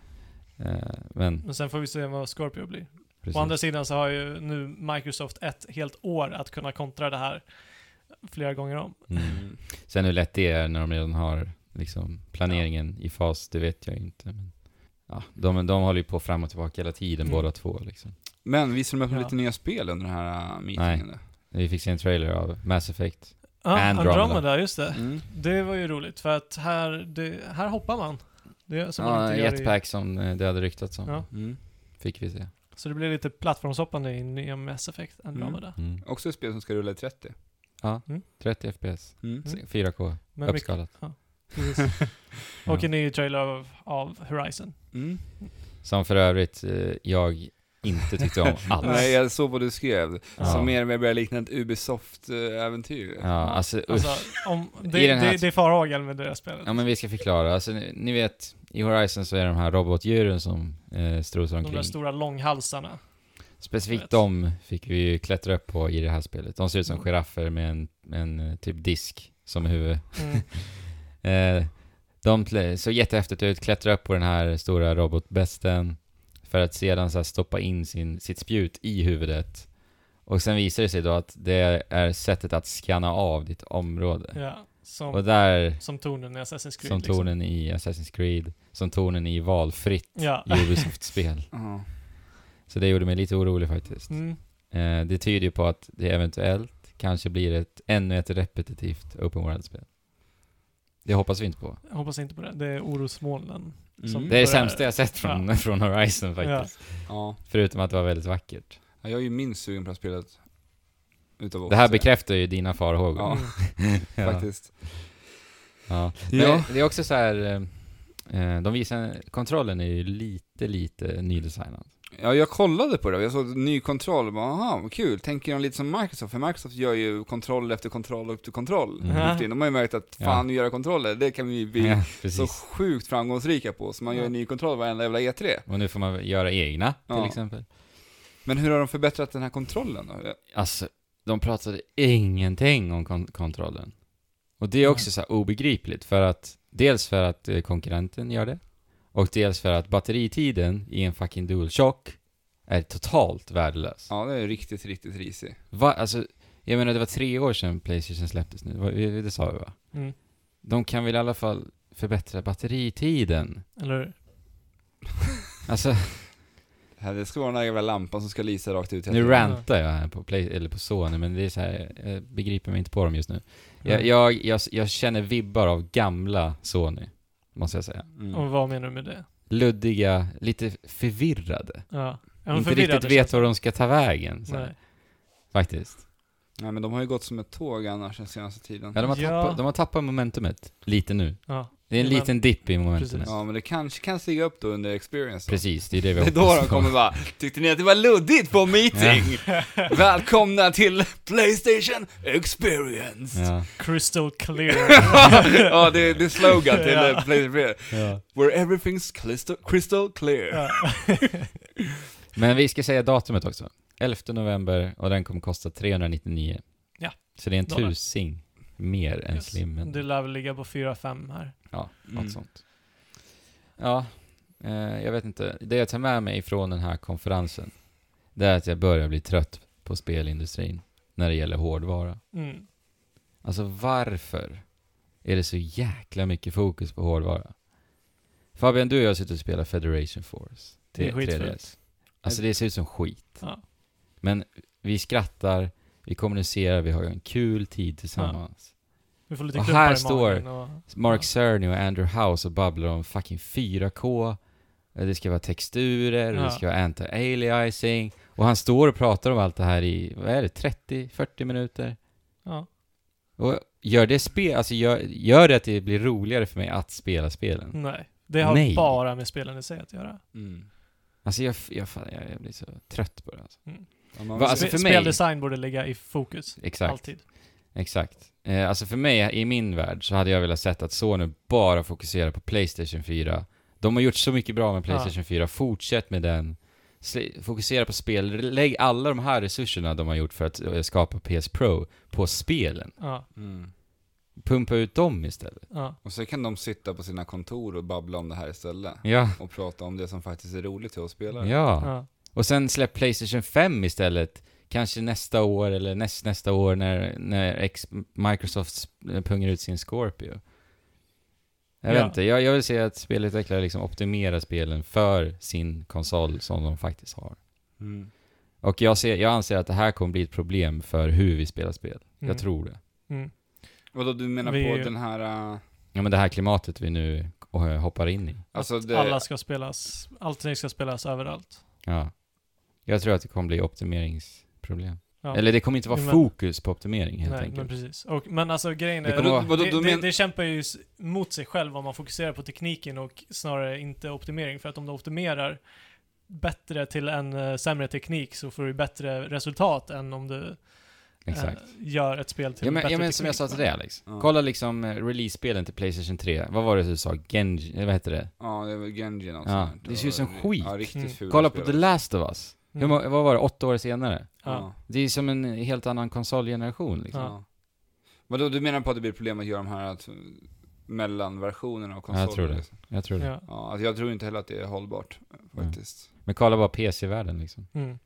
B: Eh, men,
A: Men sen får vi se vad Scorpio blir.
B: precis.
A: Å andra sidan så har ju nu Microsoft ett helt år att kunna kontra det här flera gånger om.
B: Mm. Sen hur lätt det är när de redan har liksom, planeringen i fas, det vet jag inte. Men, ja, de, de håller ju på fram och tillbaka hela tiden,
A: Mm.
B: båda två liksom.
C: Men visar de upp
A: Ja.
C: lite nya spel under den här äh, meetingen? då?
B: Vi fick se en trailer av Mass Effect.
A: Ah,
B: Andromeda.
A: Andromeda. just det.
C: Mm.
A: Det var ju roligt för att här, det, här hoppar man. Det, som man
B: Ja,
A: inte
B: en
A: gör i,
B: jetpack som eh, det hade ryktats om.
A: Ja.
C: Mm.
B: Fick vi se.
A: så det blir lite plattformshoppande i nya Mass Effect Andromeda.
B: Mm.
C: Också ett spel som ska rulla i 30.
B: Ja,
A: Mm.
B: 30 FPS,
C: Mm.
A: Mm.
B: 4K,
A: Men mycket,
B: uppskalat.
A: precis.
B: Ja.
A: Och en ny trailer av, av Horizon.
C: Mm.
B: Som för övrigt eh, jag inte tyckte om alls.
C: Nej, jag såg vad du skrev.
B: Ja.
C: Som mer och mer börjar likna ett Ubisoft-äventyr.
B: Ja, alltså, usch.
A: Alltså, om, det,
B: I den här-
A: det, det är farhågan med det här spelet.
B: Ja men vi ska förklara. Alltså, ni, ni vet, i Horizon så är det de här robotdjuren som eh, strosar
A: De där
B: omkring.
A: stora långhalsarna.
B: Specifikt
A: vet.
B: de fick vi ju klättra upp på i det här spelet. De ser ut som giraffer med en, en eh, typ disk som huvud.
A: Mm.
B: Eh, de klä- såg jättehäftigt ut, klättrade upp på den här stora robotbesten för att sedan så här stoppa in sin, sitt spjut i huvudet. Och sen visar det sig då att det är sättet att skanna av ditt område.
A: Ja, som,
B: Och där,
A: som tornen i Assassin's Creed.
B: som
A: liksom.
B: tonen i Assassin's Creed, som tonen i valfritt
A: Ja.
B: Ubisoft-spel.
C: Ja.
B: Så det gjorde mig lite orolig faktiskt.
A: Mm.
B: Eh, det tyder ju på att det eventuellt kanske blir ett, ännu ett repetitivt open world-spel. Det hoppas vi inte på.
A: Jag hoppas inte på det. Det är orosmolnen.
C: Mm.
B: Det är det
A: Börjar-
B: sämsta jag sett från, från Horizon faktiskt.
C: Ja.
B: Förutom att det var väldigt vackert.
C: Ja, Jag är ju minst sugen på det här spelet. Utav oss.
B: Det här bekräftar ju dina farhågor.
C: Ja.
A: Mm.
B: ja.
C: Faktiskt.
B: Ja. Men
C: Ja.
B: Det är också så här, eh, de visar, kontrollen är ju lite, lite nydesignad.
C: ja, jag kollade på det. Jag såg en ny kontroll och bara, aha, vad kul. Tänker de lite som Microsoft? För Microsoft gör ju kontroll efter kontroll efter kontroll. Typ,
B: Mm.
A: Ja.
C: De har ju märkt att, fan, nu göra kontroller, det kan vi bli
B: Ja,
C: så
B: precis.
C: sjukt framgångsrika på. Så man gör en ny kontroll varenda jävla E E3.
B: Och nu får man göra egna till
C: Ja.
B: exempel.
C: Men hur har de förbättrat den här kontrollen då?
B: Alltså, de pratade ingenting om kon- kontrollen. Och det är
C: Mm.
B: också så här obegripligt för att, dels för att eh, konkurrenten gör det, och dels för att batteritiden i en fucking DualShock är totalt värdelös.
C: Ja, det är riktigt, riktigt risig.
B: Va? Alltså, jag menar det var tre år sedan Playstation släpptes nu, Va- vi- det sa vi va?
A: Mm.
B: De kan väl i alla fall förbättra batteritiden?
A: Eller hur?
B: Alltså,
C: Det här- Det ska vara den här jävla lampan som ska lysa rakt ut. hela
B: nu
C: tiden.
B: rantar jag här på, Play, eller på Sony, men det är så här, jag begriper mig inte på dem just nu. Jag, jag, jag, jag känner vibbar av gamla Sony, måste jag säga.
C: Mm.
A: Och vad menar du med det?
B: Luddiga, lite förvirrade.
A: Ja. Jag är
B: inte
A: förvirrad, det
B: riktigt vet
A: känns
B: var de ska ta vägen, så
A: som.
B: här,
A: Nej.
B: faktiskt.
C: Nej men de har ju gått som ett tåg annars den senaste tiden.
B: Ja, de, har
A: Ja.
B: Tappat, de har tappat momentumet, lite nu.
A: Ja.
B: Det är en
A: Men-
B: liten dipp i momentumet.
A: Precis.
B: Precis.
C: Ja men det kanske kan stiga upp då under experience. då.
B: det är det vi
C: Det är
B: hoppas
C: då de
B: på.
C: kommer bara, tyckte ni att det var luddigt på meeting? Välkomna till Playstation Experience!
B: Ja.
A: Crystal clear.
C: ja, det är, det är slogan till
A: Ja.
C: eh, Playstation Where everything's crystal, crystal clear.
A: ja.
B: Men vi ska säga datumet också. 11 november och den kommer kosta 399.
A: Ja.
B: Så det är en
A: Dollar.
B: tusing mer än Äh, slimmen.
A: Du lär väl ligga på 4-5 här.
B: Ja, något
C: Mm.
B: sånt. Ja, eh, jag vet inte. Det jag tar med mig från den här konferensen, det är att jag börjar bli trött på spelindustrin när det gäller hårdvara.
A: Mm.
B: Alltså varför är det så jäkla mycket fokus på hårdvara? Fabian, du och jag har suttit och spelat Federation Force.
A: Det är
B: T- 3DS.
A: skitfult.
B: Alltså det ser ut som skit.
A: Ja.
B: Men vi skrattar, vi kommunicerar, vi har en kul tid tillsammans.
A: Vi får lite
B: Och
A: klumpar
B: här
A: i magen och...
B: Mark
A: Ja.
B: Cerny och Andrew House och babblar om fucking 4K, eh, det ska vara texturer, och
A: Ja.
B: det ska vara anti-aliasing. Och han står och pratar om allt det här i, vad är det, 30-40 minuter?
A: Ja.
B: Och gör det spel, alltså gör, gör det att det blir roligare för mig att spela spelen?
A: Nej. Det har
B: Nej.
A: bara med spelen i sig att göra.
C: Mm.
B: Alltså jag, jag, fan, jag, jag blir så trött på det alltså.
C: Ja, man-
B: Va, alltså
A: Spe-
B: för mig-
A: Speldesign borde ligga i fokus.
B: Exakt.
A: Alltid.
B: Exakt. Eh, alltså för mig, i min värld, så hade jag velat sett att Sony bara fokuserar på Playstation 4. De har gjort så mycket bra med Playstation 4, fortsätt med den. Sli- Fokusera på spel, lägg alla de här resurserna de har gjort för att eh, skapa PS Pro på spelen.
A: Ja.
C: mm.
B: Pumpa ut dem istället.
A: Ja.
C: Och så kan de sitta på sina kontor och babbla om det här istället.
B: Ja,
C: Och prata om det som faktiskt är roligt till oss spelare.
B: ja.
A: ja.
B: Och sen släpp Playstation 5 istället. Kanske nästa år eller näst, nästa år när, när ex- Microsoft sp- eh, pungar ut sin Scorpio. Jag vet
A: Ja.
B: inte, jag, jag vill se att spelutvecklare liksom optimerar spelen för sin konsol som de faktiskt har.
C: Mm.
B: Och jag, ser, jag anser att det här kommer bli ett problem för hur vi spelar spel.
A: Mm.
B: Jag tror det.
A: Mm.
C: Vadå, du menar
A: Vi-
C: på den här... äh,
B: Ja men det här klimatet vi nu eh, hoppar in i.
C: Alltså
A: att
C: det...
A: alla ska spelas, allting ska spelas överallt.
B: Ja. Jag tror att det kommer bli optimeringsproblem.
A: Ja.
B: Eller det kommer inte vara
A: Men-
B: fokus på optimering helt
A: Nej, men
B: enkelt.
A: precis. Och, men alltså grejen
B: Det
A: är,
B: kommer
A: det,
B: vara-
C: Vadå,
A: det,
C: du
A: det,
C: men-
A: kämpar ju s- mot sig själv om man fokuserar på tekniken och snarare inte optimering. För att om du optimerar bättre till en eh, sämre teknik så får du bättre resultat än om du eh,
B: Exakt.
A: gör ett spel till
B: Ja men,
A: bättre
B: ja, men
A: teknik.
B: som jag sa till dig Alex.
C: Ja.
B: Kolla liksom eh, release-spelen till Playstation 3. Vad var det du sa? Genji, eh, vad heter det?
C: Ja, det var Genji något
B: Ja,
C: sånt här.
B: det ser ut som
C: var-
B: skit.
C: Ja, riktigt
A: Mm.
C: fula
B: Kolla på The
C: spelare.
B: Last of Us. Hur,
A: Mm.
B: må- vad var det? Åtta år senare?
A: Ja.
C: Ja.
B: Det är som en helt annan konsolgeneration liksom.
A: Ja.
C: ja. Vadå, du menar på att det blir problem att göra de här att, mellanversionerna av
B: Ja, jag
C: konsoler?
B: tror det.
C: liksom?
B: Jag tror det.
A: Ja.
C: Ja, alltså jag tror inte heller att det är hållbart faktiskt.
B: Men kolla bara PC-världen liksom.
A: Mm.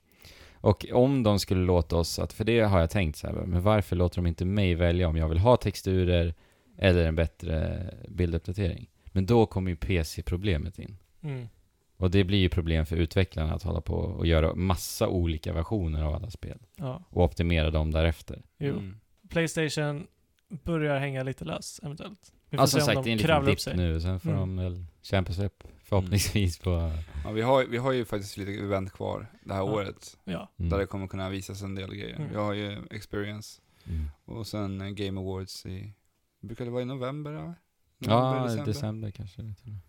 B: Och om de skulle låta oss, att, för det har jag tänkt så här, men varför låter de inte mig välja om jag vill ha texturer eller en bättre eh, bilduppdatering? Men då kommer ju PC-problemet in.
A: Mm.
B: Och det blir ju problem för utvecklarna att hålla på och göra massa olika versioner av alla spel
A: Ja.
B: och optimera dem därefter.
A: Jo.
C: Mm.
A: Playstation börjar hänga lite löst eventuellt. Vi får
B: Ja, som
A: se om
B: sagt, det är
A: de
B: en liten
A: kravlar upp
B: dipp
A: sig.
B: nu, sen får
A: Mm.
B: de väl kämpa sig upp förhoppningsvis på... mm.
C: Ja, vi, har, vi har ju faktiskt lite event kvar det här
A: Ja.
C: året.
A: Ja.
B: Mm.
C: Där det kommer kunna visas en del grejer.
A: Mm.
C: Vi har ju Experience
B: Mm.
C: och sen eh, Game Awards i... Brukar det vara i november? Eller? November,
B: Ja, december. kanske. Mm. det till och med.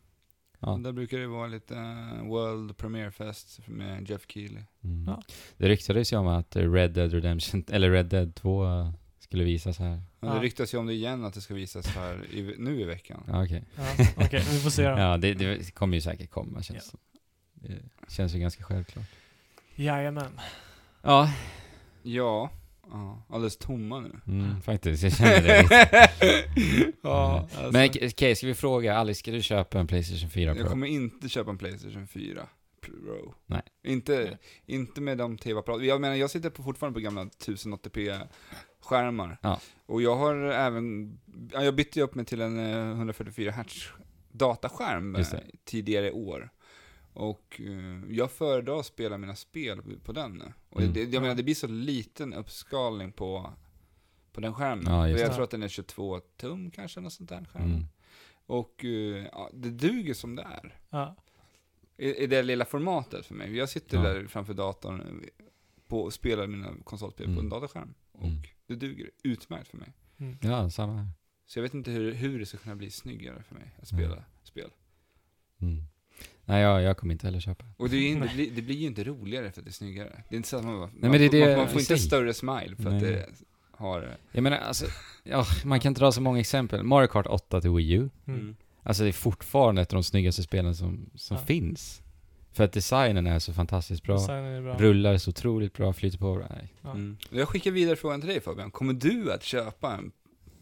B: ja.
C: Där brukar det vara lite eh, World Premiere Fest med Jeff Keely.
B: Mm.
A: Ja.
B: Det ryktades ju om att Red Dead Redemption, eller Red Dead 2 skulle visas här.
C: Men det
A: Ja.
C: ryktas ju om det igen att det ska visas här i, nu i veckan.
B: Ja, okej.
A: Ja. Okej, vi får se då.
B: Ja, det, det kommer ju säkert komma känns
A: Ja.
B: som. Det känns ju ganska självklart.
A: Jajamän.
B: Ja,
C: Ja. ja. Alldeles tomma nu.
B: mm, faktiskt. Jag känner det lite.
C: ja,
B: Mm.
C: alltså,
B: Men okej, ska vi fråga Alice, ska du köpa en Playstation 4 Pro?
C: jag kommer inte köpa en Playstation 4 Pro.
B: Nej.
C: Inte,
A: Nej.
C: inte med de tv-apparaterna. Jag menar, jag sitter på, fortfarande på gamla 1080p-skärmar.
B: Ja.
C: Och jag har även, ja, jag bytte ju upp mig till en eh, 144 Hz dataskärm eh,
B: Just det.
C: tidigare i år. Och eh, jag föredrar att spela mina spel på den nu. Och
B: Mm.
C: det, jag menar, det blir så liten uppskalning på, på den skärmen.
B: Ja, just
C: och jag
A: det.
C: tror att den är 22 tum kanske, något sånt där skärm.
B: Mm.
C: Och eh, ja, det duger som det är.
A: Ja.
C: I, I det lilla formatet för mig. Jag sitter
B: Ja.
C: där framför datorn på, och spelar mina konsolspel på
B: Mm.
C: en datorskärm. Och
B: Mm.
C: det duger utmärkt för mig.
A: Mm.
B: Ja, samma här.
C: Så jag vet inte hur, hur det ska kunna bli snyggare för mig att spela spel.
B: Mm. Nej, jag, jag kommer inte heller köpa.
C: Och det, är ju inte, det, blir, det blir ju inte roligare för att det är snyggare. Det är inte så att man bara,
B: men
C: man,
B: det är
C: får-
B: det
C: man, man
B: jag
C: får inte
B: säger.
C: större smile för
B: Nej.
C: att det har...
B: Jag menar, alltså, ja, man kan dra så många exempel. Mario Kart 8 till Wii U.
A: Mm.
C: Mm.
B: Alltså det är fortfarande ett av de snyggaste spelen som, som
A: Ja.
B: finns. För att designen är så fantastiskt bra.
A: Designen är bra.
B: Rullar så otroligt bra, flyter på bra. Nej.
A: Ja.
C: Mm. Jag skickar vidare frågan till dig Fabian. Kommer du att köpa en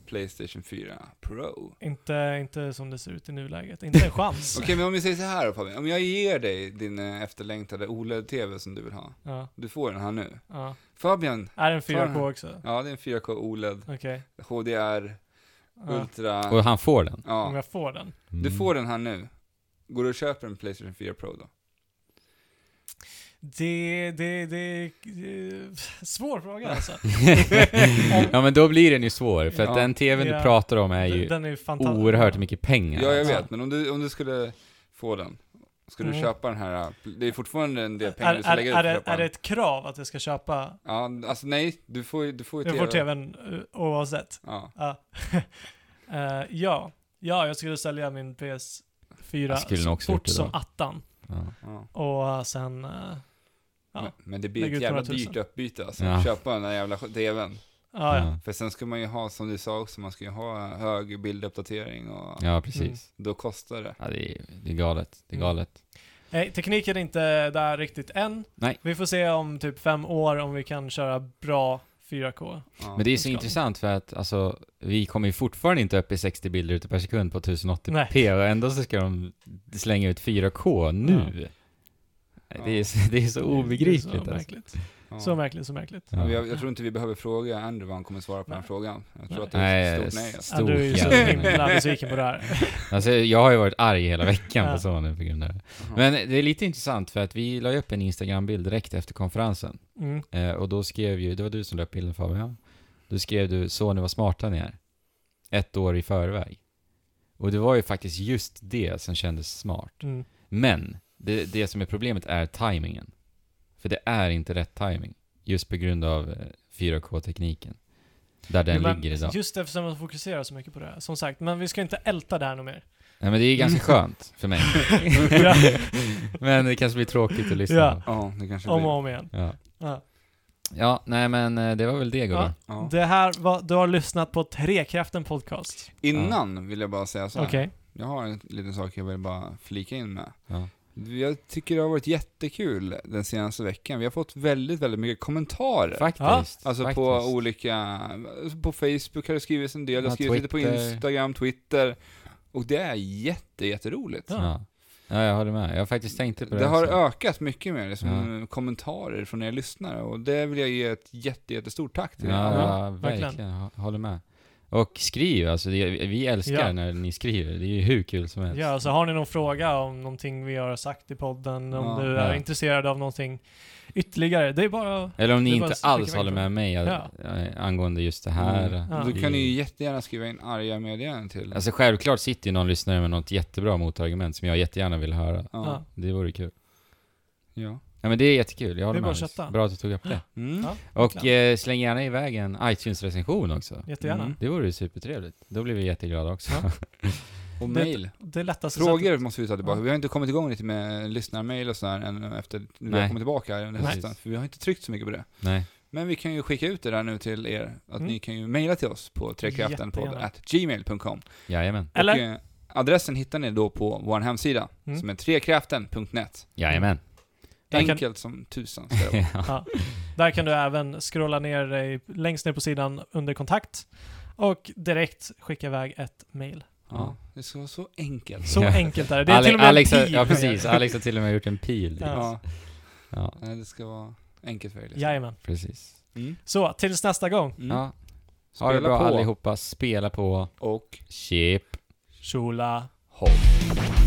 C: Playstation 4 Pro?
A: Inte, inte som det ser ut i nuläget. Inte en chans.
C: Okej, men om vi säger så här då Fabian. Om jag ger dig din eh, efterlängtade OLED-TV som du vill ha.
A: Ja,
C: Du får den här nu.
A: ja.
C: Fabian,
A: Är den
C: Ta
A: 4K
C: den.
A: också?
C: ja det är en 4K OLED,
A: Okej.
C: HDR,
A: Ja.
C: Ultra.
B: Och han får den.
A: Om
C: Ja,
A: jag får den?
B: Mm.
C: du får den här nu. Går du och köper en Playstation 4 Pro då?
A: Det, det, det, det svår fråga alltså.
B: ja men då blir den ju svår, för att
C: Ja.
B: den tvn
A: Ja.
B: du pratar om är ju
A: Den den är ju fantastisk.
B: oerhört mycket pengar.
C: Ja, jag
B: alltså.
C: vet, men om du, om du skulle få den, skulle du
A: Mm.
C: köpa den här? eh, Det är fortfarande en del pengar
A: Är,
C: du
A: är,
C: ska lägga
A: är,
C: ut för
A: det,
C: att köpa
A: är det
C: den.
A: ett krav att jag ska köpa?
C: Ja, alltså nej, du får ju du får ju
A: Jag får tvn eh, oavsett.
C: Ja.
A: Ja. Eh, ja. ja, jag skulle sälja min PS4
B: Jag skulle nog
A: så
B: också gjort
A: fort
B: det
A: som
B: då.
A: attan.
B: Ja.
C: ja.
A: Och eh, sen... eh, Ja.
C: Men, men det
A: Lägg
C: blir
A: ut
C: ett jävla
A: några tusen.
C: dyrt uppbyte alltså,
B: Ja.
C: köpa den där jävla TVn.
A: ja, ja.
C: För sen ska man ju ha, som du sa också, man ska ju ha hög bilduppdatering och
B: Ja, precis.
C: då kostar det.
B: Ja, det, är, det är galet. Det är
A: Mm.
B: galet.
A: Nej, tekniken är inte där riktigt än.
B: Nej.
A: Vi får se om typ fem år om vi kan köra bra 4K.
C: Ja.
B: Men det är så
A: Ska.
B: intressant för att alltså, vi kommer ju fortfarande inte upp i 60 bilder ute per sekund på 1080p och ändå så ska de slänga ut 4K nu. Det, är, så- det är så obegripligt
A: Det är så
B: alltså.
A: märkligt.
C: ja.
A: Så märkligt, så märkligt.
C: Men
B: Ja.
C: jag, jag tror inte vi behöver fråga Andrew vad han kommer svara på den här
A: Nej.
C: frågan. Jag tror
A: Nej.
C: att det är ett stort
B: Nej,
C: nej. Alltså.
B: Stor
A: Andrew är ju så
B: jävla-
A: himla besviken på det här.
B: Alltså, jag har ju varit arg hela veckan
A: Ja.
B: på Sony på grund av det.
C: Jaha.
B: Men det är lite intressant för att vi la upp en Instagram-bild direkt efter konferensen.
A: Mm.
B: Eh, och då skrev ju, det var du som la upp bilden Fabian. Då skrev du Sony vad smarta ni är. Ett år i förväg. Och det var ju faktiskt just det som kändes smart.
A: Mm.
B: Men det, det som är problemet är timingen. För det är inte rätt timing. Just på grund av eh, 4K-tekniken. Där den
A: Men
B: ligger idag.
A: Just eftersom man fokuserar så mycket på det här, som sagt. Men vi ska inte älta det här något mer.
B: Nej men det är ganska skönt för mig.
A: Ja.
B: men det kanske blir tråkigt att lyssna
A: Ja.
B: på.
C: Ja, det kanske
A: Om och
C: blir.
A: om igen.
B: Ja.
A: Ja.
B: ja, nej men eh, det var väl det gubben.
C: Ja.
A: Det här var, du har lyssnat på Trekraften Podcast.
C: Innan vill jag bara säga så här.
A: Okej.
C: Jag har en liten sak jag vill bara flika in med.
B: Ja.
C: Jag tycker det har varit jättekul den senaste veckan. Vi har fått väldigt, väldigt mycket kommentarer.
B: Faktiskt.
C: Alltså
B: faktiskt.
C: på olika, på Facebook har det skrivits en del, det har
B: Ja,
C: skrivits lite på
B: Twitter.
C: Instagram, Twitter. Och det är jätte, jätteroligt.
A: Ja.
B: Ja. ja, jag håller med. Jag faktiskt tänkte på det.
C: Det har
B: också.
C: ökat mycket mer, liksom,
B: Ja.
C: kommentarer från er lyssnare. Och det vill jag ge ett jätte, jättestort tack till. er
B: Ja,
C: alla.
B: ja, verkligen.
A: verkligen.
B: Hå- Håller med. Och skriv, alltså det, vi älskar
A: Ja.
B: när ni skriver. Det är ju hur kul som helst.
A: Ja, så har ni någon fråga om någonting vi har sagt i podden, om
C: Ja.
A: du är
B: Ja.
A: intresserad av någonting ytterligare, det är bara...
B: Eller om ni
A: Det är bara
B: inte
A: att
B: alls
A: skicka
B: håller
A: med
B: med mig att, eh, angående just det här.
C: Mm.
A: Ja.
C: Då
B: Det-
C: kan ni ju jättegärna skriva in arga meddelanden till.
B: Alltså självklart sitter ju någon lyssnare med något jättebra motargument som jag jättegärna vill höra.
C: ja.
B: Det vore kul.
C: ja.
B: Ja men det är jättekul, jag
A: Det
B: håller
A: är bara
B: med.
A: att
B: Alex.
A: chatta.
B: Bra att du tog upp det.
C: Mm.
A: Ja.
B: Och eh, släng gärna iväg en iTunes-recension också.
A: Jättegärna.
C: Mm.
B: Det vore ju supertrevligt. Då blir vi jätteglada också.
A: Ja.
C: Och
A: Det-
C: mail.
A: Det lättaste
C: Frågor måste vi ta tillbaka.
A: Ja.
C: Vi har inte kommit igång lite med lyssnarmail och sådär än efter att vi har
B: Nej.
C: kommit tillbaka här under
B: Nej.
C: hösten. För vi har inte tryckt så mycket på det.
B: Nej.
C: Men vi kan ju skicka ut det där nu till er. Att
A: Mm.
C: ni kan ju mejla till oss på
A: Jättegärna.
C: trekraftenpodd.gmail.com
B: Jajamän.
A: Eller?
C: Och, eh, adressen hittar ni då på vår hemsida
A: Mm.
C: som är trekraften.net.
B: Jajamän.
A: Där kan-
C: Enkelt som tusan. ska det vara.
A: Ja. Där kan du även scrolla ner dig längst ner på sidan under kontakt och direkt skicka iväg ett mail.
C: ja, det ska vara så enkelt.
A: Så
B: Ja.
A: enkelt är det. Det är
B: Ale-
A: till och med
B: Alex,
A: en
B: har-
A: pil.
B: Ja precis, Alex har till och med gjort en pil.
A: Ja.
C: Ja,
B: Ja,
C: nej, det ska vara enkelt för er. Liksom.
A: Jajamän.
B: precis.
C: Mm.
A: Så, tills nästa gång.
C: Mm.
B: Ja. Ha
C: Spela
B: det bra
C: på
B: allihopa, spela på,
C: och
B: chip.
A: Shula.
C: håll.